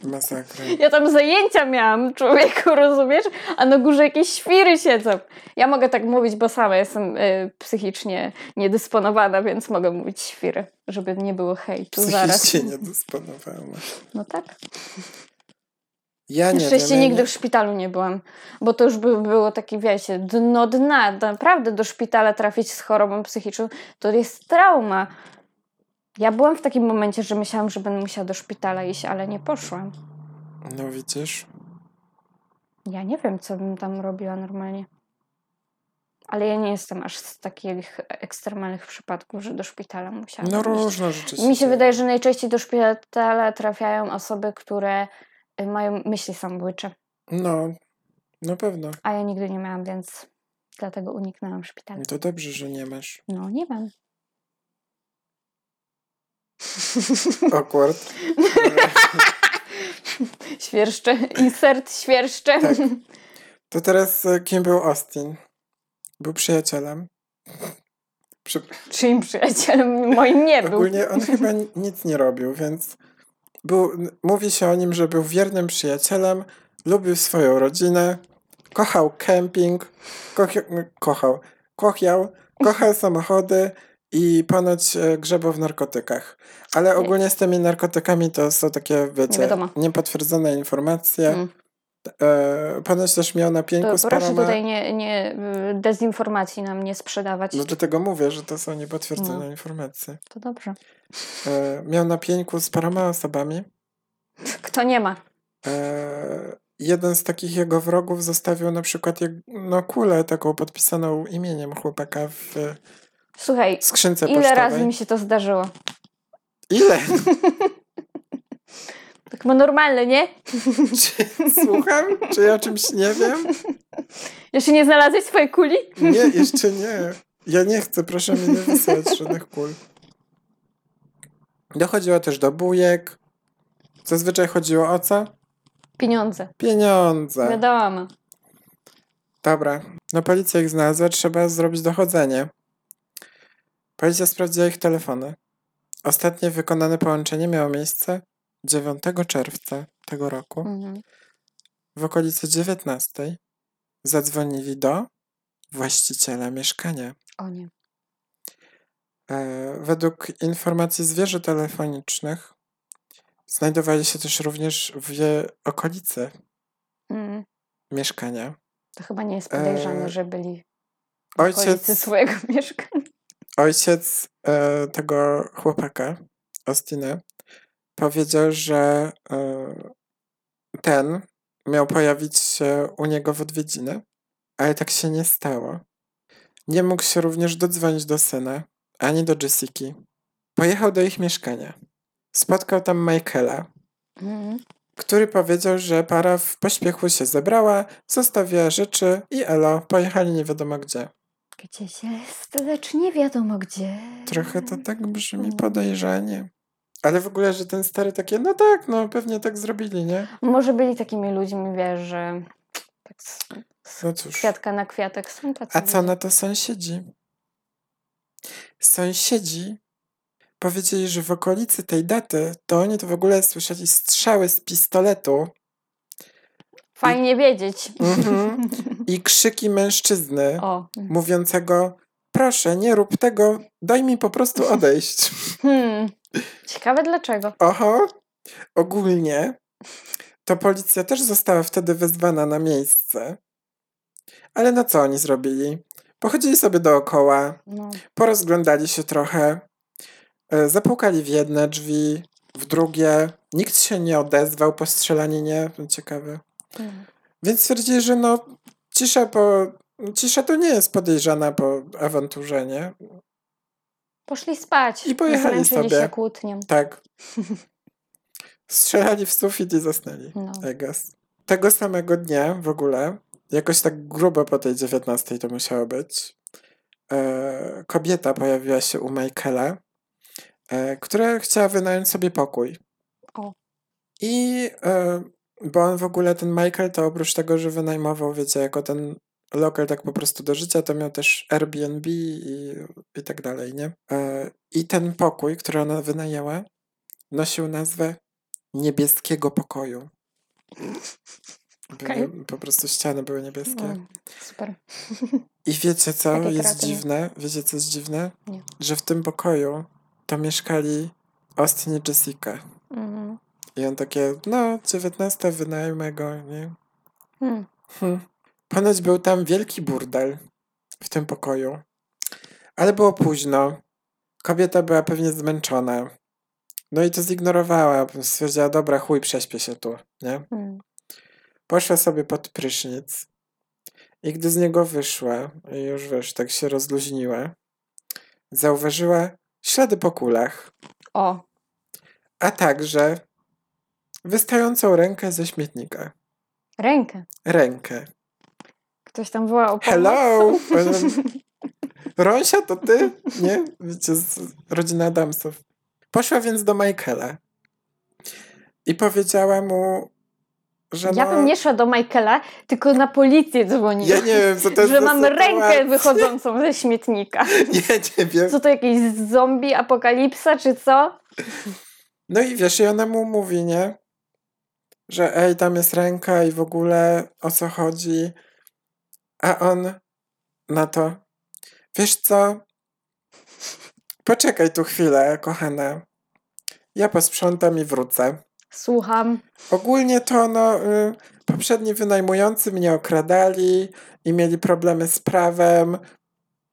Speaker 1: masakra.
Speaker 2: Ja tam zajęcia miałam, człowieku, rozumiesz? A na górze jakieś świry siedzą. Ja mogę tak mówić, bo sama jestem y, psychicznie niedysponowana, więc mogę mówić świry, żeby nie było hejtu zaraz.
Speaker 1: Psychicznie niedysponowana.
Speaker 2: No tak.
Speaker 1: Ja
Speaker 2: Na
Speaker 1: nie
Speaker 2: szczęście
Speaker 1: wiem, ja
Speaker 2: nigdy w szpitalu nie byłam, bo to już by było takie, wiecie, dno dna. Naprawdę do szpitala trafić z chorobą psychiczną to jest trauma. Ja byłam w takim momencie, że myślałam, że będę musiała do szpitala iść, ale nie poszłam.
Speaker 1: No widzisz?
Speaker 2: Ja nie wiem, co bym tam robiła normalnie. Ale ja nie jestem aż z takich ekstremalnych przypadków, że do szpitala musiałam.
Speaker 1: No
Speaker 2: iść.
Speaker 1: różne rzeczy
Speaker 2: Tak, Mi się
Speaker 1: dzieją.
Speaker 2: wydaje, że najczęściej do szpitala trafiają osoby, które y, mają myśli samobójcze,
Speaker 1: No, na pewno.
Speaker 2: a ja nigdy nie miałam, więc dlatego uniknęłam szpitala.
Speaker 1: To dobrze, że nie masz.
Speaker 2: No, nie mam.
Speaker 1: Awkward.
Speaker 2: Świerszcze, insert świerszcze.
Speaker 1: Tak. To teraz e, kim był Austin? Był przyjacielem. Przepraszam.
Speaker 2: Czyim przyjacielem moim nie Tak, był.
Speaker 1: Ogólnie on chyba ni- nic nie robił, więc był, n- mówi się o nim, że był wiernym przyjacielem, lubił swoją rodzinę, kochał kemping, kochi- kochał, kochał, kochał samochody i ponoć e, grzebał w narkotykach. Ale ogólnie z tymi narkotykami to są takie, wiecie,
Speaker 2: wiadomo.
Speaker 1: niepotwierdzone informacje.
Speaker 2: Mm.
Speaker 1: E, ponoć też miał na pieńku
Speaker 2: To
Speaker 1: z
Speaker 2: proszę
Speaker 1: paroma-
Speaker 2: tutaj nie, nie y, dezinformacji nam nie sprzedawać.
Speaker 1: No dlatego mówię, że to są niepotwierdzone
Speaker 2: Mm.
Speaker 1: informacje.
Speaker 2: To dobrze.
Speaker 1: E, miał na pieńku z paroma osobami.
Speaker 2: Kto nie ma?
Speaker 1: E, jeden z takich jego wrogów zostawił na przykład jak, no, kulę taką podpisaną imieniem chłopaka w e,
Speaker 2: Słuchaj,
Speaker 1: skrzynce
Speaker 2: ile
Speaker 1: pocztowej.
Speaker 2: razy mi się to zdarzyło?
Speaker 1: Ile?
Speaker 2: Tak ma normalne, nie?
Speaker 1: Czy, słucham? Czy ja o czymś nie wiem?
Speaker 2: Jeszcze nie znalazłeś swojej kuli?
Speaker 1: Nie, jeszcze nie. Ja nie chcę, proszę mi nie wysyłać żadnych kul. Dochodziło też do bujek. Zazwyczaj chodziło o co?
Speaker 2: Pieniądze.
Speaker 1: Pieniądze.
Speaker 2: Wiadomo.
Speaker 1: Dobra. No policja ich znalazła, trzeba zrobić dochodzenie. Policja sprawdziła ich telefony. Ostatnie wykonane połączenie miało miejsce 9 czerwca tego roku.
Speaker 2: Mhm.
Speaker 1: W okolicy 19 zadzwonili do właściciela mieszkania.
Speaker 2: O nie.
Speaker 1: E, Według informacji z wieży telefonicznych znajdowali się też również w je- okolicy
Speaker 2: Mm.
Speaker 1: mieszkania.
Speaker 2: To chyba nie jest podejrzane,
Speaker 1: Eee,
Speaker 2: że byli w okolicy
Speaker 1: Ojciec
Speaker 2: swojego mieszkania.
Speaker 1: ojciec e, tego chłopaka, Austina, powiedział, że e, ten miał pojawić się u niego w odwiedziny, ale tak się nie stało. Nie mógł się również dodzwonić do syna, ani do Jessiki. Pojechał do ich mieszkania. Spotkał tam Michaela,
Speaker 2: Mhm.
Speaker 1: który powiedział, że para w pośpiechu się zebrała, zostawiła rzeczy i elo, pojechali nie wiadomo gdzie.
Speaker 2: Gdzie się jest, lecz nie wiadomo gdzie.
Speaker 1: Trochę to tak brzmi
Speaker 2: Mm.
Speaker 1: podejrzanie. Ale w ogóle, że ten stary takie, no tak, no pewnie tak zrobili, nie?
Speaker 2: Może byli takimi ludźmi, wiesz, że tak z, z
Speaker 1: No cóż.
Speaker 2: kwiatka na kwiatek są tacy.
Speaker 1: A co
Speaker 2: ludzie.
Speaker 1: na to sąsiedzi? Sąsiedzi powiedzieli, że w okolicy tej daty to oni to w ogóle słyszeli strzały z pistoletu
Speaker 2: Fajnie wiedzieć.
Speaker 1: mhm, i krzyki mężczyzny
Speaker 2: O.
Speaker 1: mówiącego proszę, nie rób tego, daj mi po prostu odejść.
Speaker 2: Hmm. Ciekawe dlaczego.
Speaker 1: Oho, ogólnie to policja też została wtedy wezwana na miejsce. Ale no co oni zrobili? Pochodzili sobie dookoła,
Speaker 2: No.
Speaker 1: porozglądali się trochę, e, zapukali w jedne drzwi, w drugie. Nikt się nie odezwał po strzelaninie, no ciekawe.
Speaker 2: Hmm.
Speaker 1: Więc stwierdzili, że no cisza po... Cisza to nie jest podejrzana po awanturze, nie?
Speaker 2: Poszli spać.
Speaker 1: I pojechali
Speaker 2: Zmęczyli
Speaker 1: sobie.
Speaker 2: się kłótnią.
Speaker 1: Tak. Strzelali w sufit i zasnęli.
Speaker 2: No.
Speaker 1: I guess. Tego samego dnia w ogóle, jakoś tak grubo po tej 19 to musiało być, e, kobieta pojawiła się u Michaela, e, która chciała wynająć sobie pokój.
Speaker 2: O.
Speaker 1: I e, bo on w ogóle, ten Michael, to oprócz tego, że wynajmował, wiecie, jako ten lokal tak po prostu do życia, to miał też Airbnb i, i tak dalej, nie? E, I ten pokój, który ona wynajęła, nosił nazwę niebieskiego pokoju. Były,
Speaker 2: Okej.
Speaker 1: Po prostu ściany były niebieskie.
Speaker 2: Mm, Super.
Speaker 1: I wiecie co
Speaker 2: Takie
Speaker 1: jest
Speaker 2: kraty, nie?
Speaker 1: dziwne? Wiecie co jest dziwne?
Speaker 2: Nie.
Speaker 1: Że w tym pokoju to mieszkali Austin i Jessica.
Speaker 2: Mhm.
Speaker 1: I on takie, no, 19 wynajmę go, nie?
Speaker 2: Hmm.
Speaker 1: Hm. Ponoć był tam wielki burdel w tym pokoju. Ale było późno. Kobieta była pewnie zmęczona. No i to zignorowała. Stwierdziła, dobra, chuj, prześpię się tu, nie?
Speaker 2: Hmm.
Speaker 1: Poszła sobie pod prysznic i gdy z niego wyszła, i już wiesz, tak się rozluźniła, zauważyła ślady po kulach,
Speaker 2: O.
Speaker 1: a także wystającą rękę ze śmietnika.
Speaker 2: Rękę.
Speaker 1: Rękę.
Speaker 2: Ktoś tam woła o pomoc.
Speaker 1: Hello! Rąsia, to ty? Nie? Wiecie, z rodzina Adamsów. Poszła więc do Michaela i powiedziała mu, Że
Speaker 2: Ja
Speaker 1: no,
Speaker 2: bym nie szła do Michaela, tylko na policję
Speaker 1: Ja
Speaker 2: dzwoniła.
Speaker 1: nie wiem, co to jest
Speaker 2: że
Speaker 1: za
Speaker 2: mam
Speaker 1: sytuacja.
Speaker 2: rękę wychodzącą ze śmietnika.
Speaker 1: Nie, nie wiem.
Speaker 2: Co to jakiś zombie apokalipsa, czy co?
Speaker 1: No i wiesz, i ona mu mówi, nie? Że ej, tam jest ręka i w ogóle o co chodzi. A on na to. Wiesz co? Poczekaj tu chwilę, kochana. Ja posprzątam i wrócę.
Speaker 2: Słucham.
Speaker 1: Ogólnie to no, y, poprzedni wynajmujący mnie okradali i mieli problemy z prawem.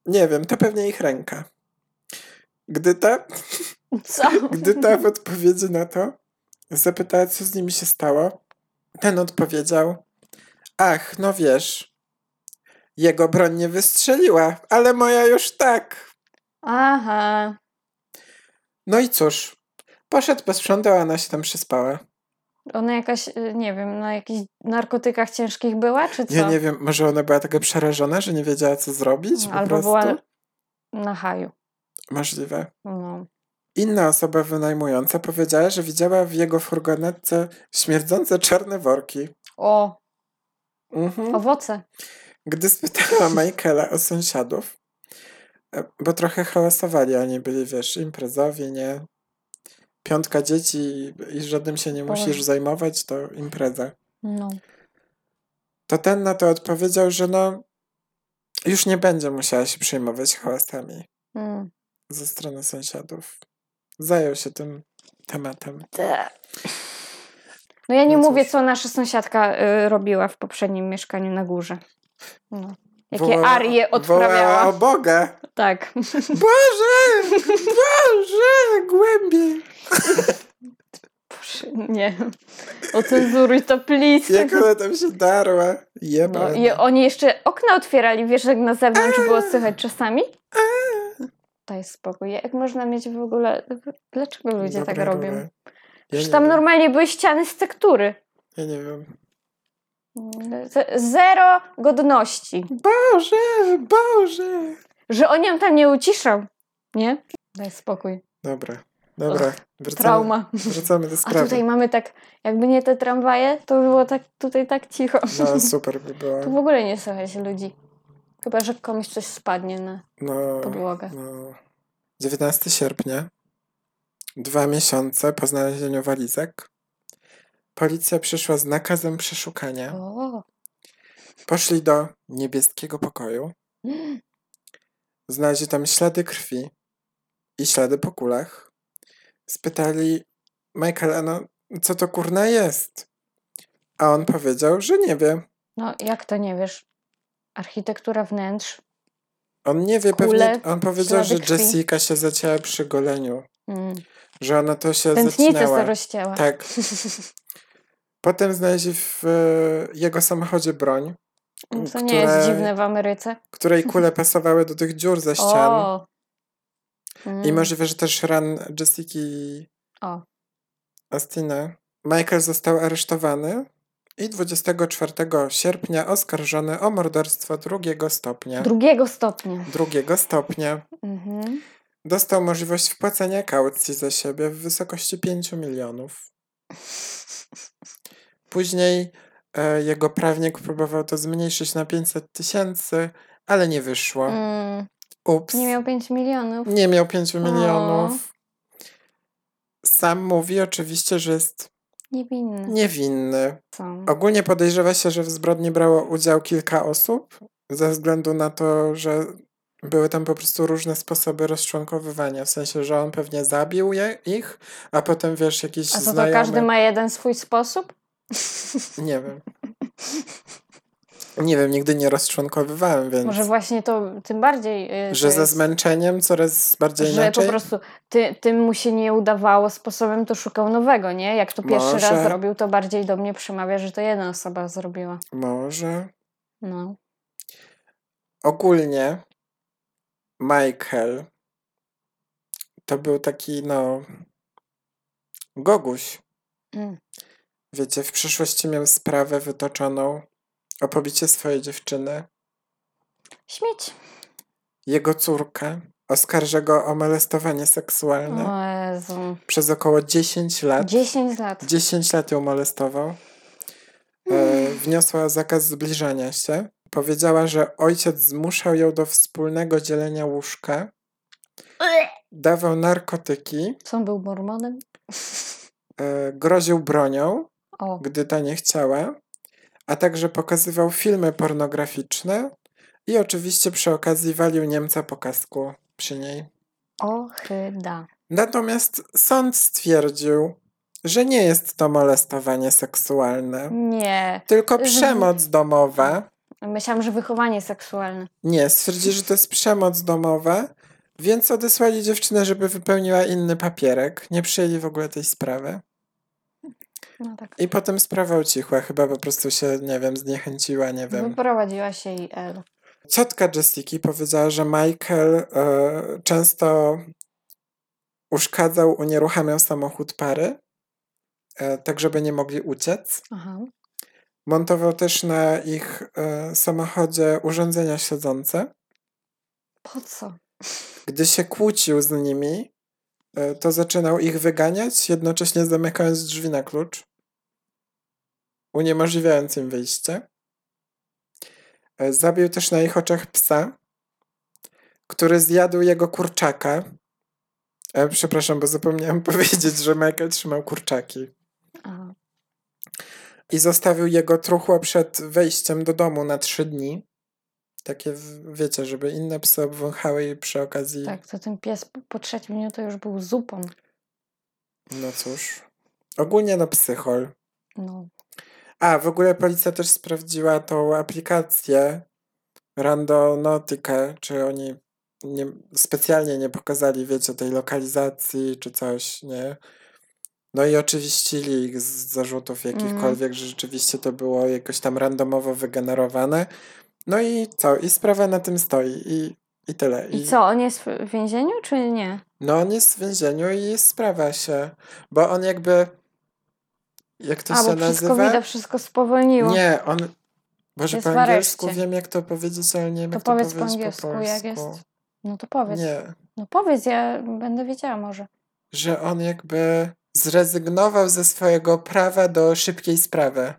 Speaker 1: Nie wiem, to pewnie ich ręka. Gdy ta
Speaker 2: Co?
Speaker 1: gdy ta w odpowiedzi na to zapytała, co z nimi się stało, ten odpowiedział: Ach, no wiesz, jego broń nie wystrzeliła, ale moja już tak.
Speaker 2: Aha.
Speaker 1: No i cóż, poszedł, posprzątał, a ona się tam przespała.
Speaker 2: Ona jakaś, y, nie wiem, na jakichś narkotykach ciężkich była, czy co?
Speaker 1: Ja nie wiem, może ona była taka przerażona, że nie wiedziała, co zrobić? Po
Speaker 2: Albo
Speaker 1: prostu.
Speaker 2: była na haju.
Speaker 1: Możliwe.
Speaker 2: No.
Speaker 1: Inna osoba wynajmująca powiedziała, że widziała w jego furgonetce śmierdzące czarne worki.
Speaker 2: O,
Speaker 1: Mhm.
Speaker 2: owoce.
Speaker 1: Gdy spytała Michaela o sąsiadów, e, bo trochę hałasowali, oni byli, wiesz, imprezowi, nie? Piątka dzieci i- i żadnym się nie
Speaker 2: Boże.
Speaker 1: musisz zajmować, to impreza.
Speaker 2: No.
Speaker 1: To ten na to odpowiedział, że no, już nie będzie musiała się przejmować hałasami
Speaker 2: Mm.
Speaker 1: ze strony sąsiadów. Zajął się tym tematem.
Speaker 2: Te. No ja nie
Speaker 1: No cóż.
Speaker 2: mówię, co nasza sąsiadka y, robiła w poprzednim mieszkaniu na górze. No. Jakie
Speaker 1: Wołała-
Speaker 2: arie
Speaker 1: Wołała
Speaker 2: odprawiała.
Speaker 1: o Boga!
Speaker 2: Tak.
Speaker 1: Boże! Boże! Głębiej!
Speaker 2: Boże, nie. Ocenzuruj to, please.
Speaker 1: Jak ona tam się darła. Jebana.
Speaker 2: No, i oni jeszcze okna otwierali, wiesz, jak na zewnątrz było słychać czasami? Daj spokój. Jak można mieć w ogóle... Dlaczego ludzie
Speaker 1: Dobra,
Speaker 2: tak robią?
Speaker 1: dobra. Ja
Speaker 2: Przecież
Speaker 1: nie
Speaker 2: tam
Speaker 1: wiem.
Speaker 2: normalnie były ściany z tektury.
Speaker 1: Ja nie wiem.
Speaker 2: Z- Zero godności.
Speaker 1: Boże, Boże!
Speaker 2: Że on ją tam nie uciszał. Nie? Daj spokój.
Speaker 1: Dobra, dobra. wracamy,
Speaker 2: Trauma.
Speaker 1: Wracamy do
Speaker 2: A
Speaker 1: sprawy.
Speaker 2: tutaj mamy tak, jakby nie te tramwaje, to było tak, tutaj tak cicho.
Speaker 1: No super by
Speaker 2: Tu
Speaker 1: było.
Speaker 2: w ogóle nie słychać ludzi. Chyba, że komuś coś spadnie na
Speaker 1: No,
Speaker 2: podłogę.
Speaker 1: no. 19 sierpnia, dwa miesiące po znalezieniu walizek, policja przyszła z nakazem przeszukania.
Speaker 2: O,
Speaker 1: Poszli do niebieskiego pokoju, znaleźli tam ślady krwi i ślady po kulach. Spytali Michaela, no co to kurna jest? A on powiedział, że nie wie.
Speaker 2: no jak to nie wiesz? Architektura wnętrz.
Speaker 1: On nie wie
Speaker 2: Kule,
Speaker 1: pewnie. On powiedział, że
Speaker 2: ślady krwi.
Speaker 1: Jessica się zacięła przy goleniu.
Speaker 2: Mm.
Speaker 1: Że ona to się
Speaker 2: Tętnicę
Speaker 1: zacinała.
Speaker 2: se rozcięła.
Speaker 1: Tak. Potem znaleźli w e, jego samochodzie broń,
Speaker 2: No To nie
Speaker 1: które-
Speaker 2: jest dziwne w Ameryce.
Speaker 1: której kule pasowały do tych dziur ze ścian.
Speaker 2: O. Mm.
Speaker 1: I możliwe, że też ran Jessica
Speaker 2: O.
Speaker 1: Astina. Michael został aresztowany i 24 sierpnia oskarżony o morderstwo drugiego stopnia.
Speaker 2: Drugiego stopnia.
Speaker 1: drugiego stopnia.
Speaker 2: Mhm.
Speaker 1: Dostał możliwość wpłacenia kaucji za siebie w wysokości 5 milionów. Później e, jego prawnik próbował to zmniejszyć na 500 tysięcy, ale nie wyszło.
Speaker 2: Mm.
Speaker 1: Ups.
Speaker 2: Nie miał 5 milionów.
Speaker 1: nie miał 5 milionów. Sam mówi oczywiście, że jest
Speaker 2: Niewinny.
Speaker 1: niewinny.
Speaker 2: Są.
Speaker 1: Ogólnie podejrzewa się, że w zbrodni brało udział kilka osób, ze względu na to, że były tam po prostu różne sposoby rozczłonkowywania. W sensie, że on pewnie zabił je, ich, a potem wiesz, jakiś
Speaker 2: A co to
Speaker 1: znajomy...
Speaker 2: każdy ma jeden swój sposób?
Speaker 1: Nie wiem. Nie wiem, nigdy nie rozczłonkowywałem, więc...
Speaker 2: Może właśnie to tym bardziej. y,
Speaker 1: że
Speaker 2: to
Speaker 1: ze
Speaker 2: jest,
Speaker 1: zmęczeniem coraz bardziej
Speaker 2: że po
Speaker 1: inaczej.
Speaker 2: prostu ty, tym mu się nie udawało sposobem, to szukał nowego, nie? Jak to pierwszy raz
Speaker 1: Może.
Speaker 2: zrobił, to bardziej do mnie przemawia, że to jedna osoba zrobiła.
Speaker 1: Może.
Speaker 2: No.
Speaker 1: Ogólnie Michael to był taki, no... Goguś.
Speaker 2: Mm.
Speaker 1: Wiecie, w przyszłości miał sprawę wytoczoną o pobicie swojej dziewczyny.
Speaker 2: Śmieć.
Speaker 1: Jego córka oskarża go o molestowanie seksualne.
Speaker 2: O Jezu.
Speaker 1: Przez około 10 lat.
Speaker 2: 10 lat.
Speaker 1: 10 lat ją molestował. e, wniosła zakaz zbliżania się. Powiedziała, że ojciec zmuszał ją do wspólnego dzielenia łóżka, dawał narkotyki,
Speaker 2: Co on był mormonem?
Speaker 1: e, groził bronią,
Speaker 2: O,
Speaker 1: gdy ta nie chciała, a także pokazywał filmy pornograficzne i oczywiście przy okazji walił Niemca po kasku przy niej.
Speaker 2: ochryda.
Speaker 1: Natomiast sąd stwierdził, że nie jest to molestowanie seksualne,
Speaker 2: Nie.
Speaker 1: tylko
Speaker 2: Mhm.
Speaker 1: przemoc domowa.
Speaker 2: Myślałam, że wychowanie seksualne.
Speaker 1: Nie, stwierdzili, że to jest przemoc domowa, więc odesłali dziewczynę, żeby wypełniła inny papierek. Nie przyjęli w ogóle tej sprawy.
Speaker 2: No tak.
Speaker 1: I potem sprawa ucichła, chyba po prostu się, nie wiem, zniechęciła,
Speaker 2: No
Speaker 1: nie wiem.
Speaker 2: Wyprowadziła się i L.
Speaker 1: Ciotka Jessiki powiedziała, że Michael e, często uszkadzał, unieruchamiał samochód pary, e, tak żeby nie mogli uciec.
Speaker 2: Aha.
Speaker 1: Montował też na ich e, samochodzie urządzenia śledzące.
Speaker 2: Po co?
Speaker 1: Gdy się kłócił z nimi, e, to zaczynał ich wyganiać, jednocześnie zamykając drzwi na klucz, uniemożliwiając im wyjście. E, Zabił też na ich oczach psa, który zjadł jego kurczaka. E, Przepraszam, bo zapomniałem powiedzieć, że Michael trzymał kurczaki.
Speaker 2: Aha.
Speaker 1: I zostawił jego truchło przed wejściem do domu na trzy dni. Takie, w- wiecie, żeby inne psy obwąchały i przy okazji
Speaker 2: Tak, to ten pies po- po trzecim dniu to już był zupą.
Speaker 1: No cóż. Ogólnie no psychol.
Speaker 2: No.
Speaker 1: A, w ogóle policja też sprawdziła tą aplikację Randonautikę, czy oni nie, specjalnie nie pokazali, wiecie, tej lokalizacji czy coś, nie? No i oczywiście ich z zarzutów
Speaker 2: Mhm.
Speaker 1: jakichkolwiek, że rzeczywiście to było jakoś tam randomowo wygenerowane. No i co? I sprawa na tym stoi. I, i tyle.
Speaker 2: I co, on jest w więzieniu czy nie?
Speaker 1: No on jest w więzieniu i jest sprawa się, bo on jakby, jak to
Speaker 2: A,
Speaker 1: się
Speaker 2: bo przez COVID
Speaker 1: nazywa?
Speaker 2: wszystko spowolniło.
Speaker 1: Nie, on, Boże,
Speaker 2: Jest
Speaker 1: po
Speaker 2: w
Speaker 1: angielsku
Speaker 2: areszcie.
Speaker 1: wiem jak to powiedzieć, ale nie wiem
Speaker 2: To
Speaker 1: jak to
Speaker 2: powiedz
Speaker 1: powiedzieć
Speaker 2: po angielsku,
Speaker 1: po
Speaker 2: jak
Speaker 1: polsku.
Speaker 2: jest. No to powiedz.
Speaker 1: Nie,
Speaker 2: No powiedz, ja będę wiedziała może.
Speaker 1: że on jakby zrezygnował ze swojego prawa do szybkiej sprawy.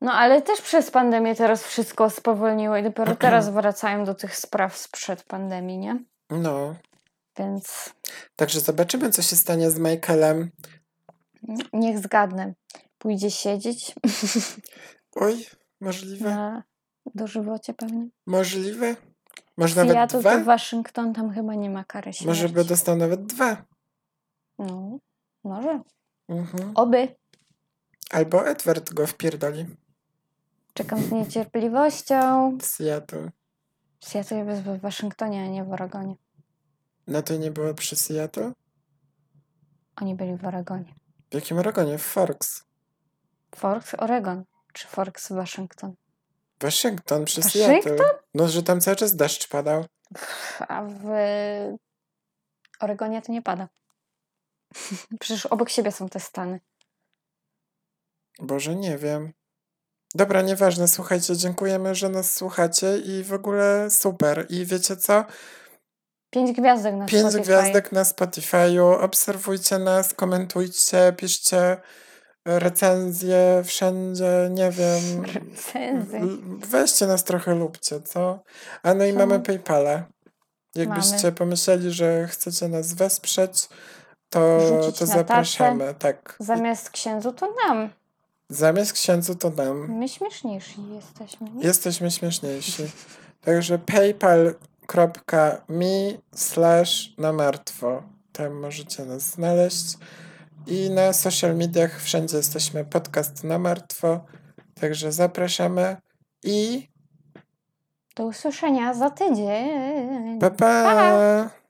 Speaker 2: No ale też przez pandemię teraz wszystko spowolniło i dopiero teraz wracają do tych spraw sprzed pandemii, nie?
Speaker 1: No,
Speaker 2: Więc
Speaker 1: także zobaczymy co się stanie z Michaelem.
Speaker 2: niech zgadnę. Pójdzie siedzieć
Speaker 1: Oj, możliwe,
Speaker 2: na dożywocie pewnie.
Speaker 1: możliwe. Może
Speaker 2: Z
Speaker 1: nawet
Speaker 2: Seattle
Speaker 1: dwa?
Speaker 2: do Waszyngton tam chyba nie ma kary śmierci.
Speaker 1: Może by dostał nawet dwa.
Speaker 2: No, może.
Speaker 1: Mhm.
Speaker 2: Oby.
Speaker 1: Albo Edward go wpierdoli
Speaker 2: Czekam z niecierpliwością.
Speaker 1: w Seattle.
Speaker 2: Seattle jest w Waszyngtonie, a nie w Oregonie.
Speaker 1: No to nie było przy Seattle?
Speaker 2: Oni byli w Oregonie.
Speaker 1: W jakim Oregonie? W Forks.
Speaker 2: Forks Oregon czy Forks Waszyngton?
Speaker 1: Waszyngton przy
Speaker 2: Waszyngton?
Speaker 1: Seattle. No, że tam cały czas deszcz padał.
Speaker 2: A w Oregonie to nie pada. Przecież obok siebie są te stany.
Speaker 1: Boże, nie wiem. Dobra, nieważne, słuchajcie, dziękujemy, że nas słuchacie i w ogóle super. I wiecie co?
Speaker 2: Pięć gwiazdek na
Speaker 1: Pięć
Speaker 2: Spotify.
Speaker 1: gwiazdek na Spotify'u, obserwujcie nas, komentujcie, piszcie e, recenzje wszędzie, nie wiem.
Speaker 2: Recenzje.
Speaker 1: L- Weźcie nas trochę lubcie, co? A no i
Speaker 2: Co?
Speaker 1: mamy PayPala. Jakbyście
Speaker 2: Mamy.
Speaker 1: pomyśleli, że chcecie nas wesprzeć, to,
Speaker 2: Rzucić
Speaker 1: to
Speaker 2: na tacę.
Speaker 1: zapraszamy. Tak.
Speaker 2: Zamiast księdzu to nam.
Speaker 1: Zamiast księdzu to nam.
Speaker 2: My śmieszniejsi jesteśmy. nie?
Speaker 1: Jesteśmy śmieszniejsi. Także paypal.me slash na martwo. Tam możecie nas znaleźć. I na social mediach wszędzie jesteśmy podcast na martwo. Także zapraszamy i
Speaker 2: Do usłyszenia za tydzień.
Speaker 1: pa! pa.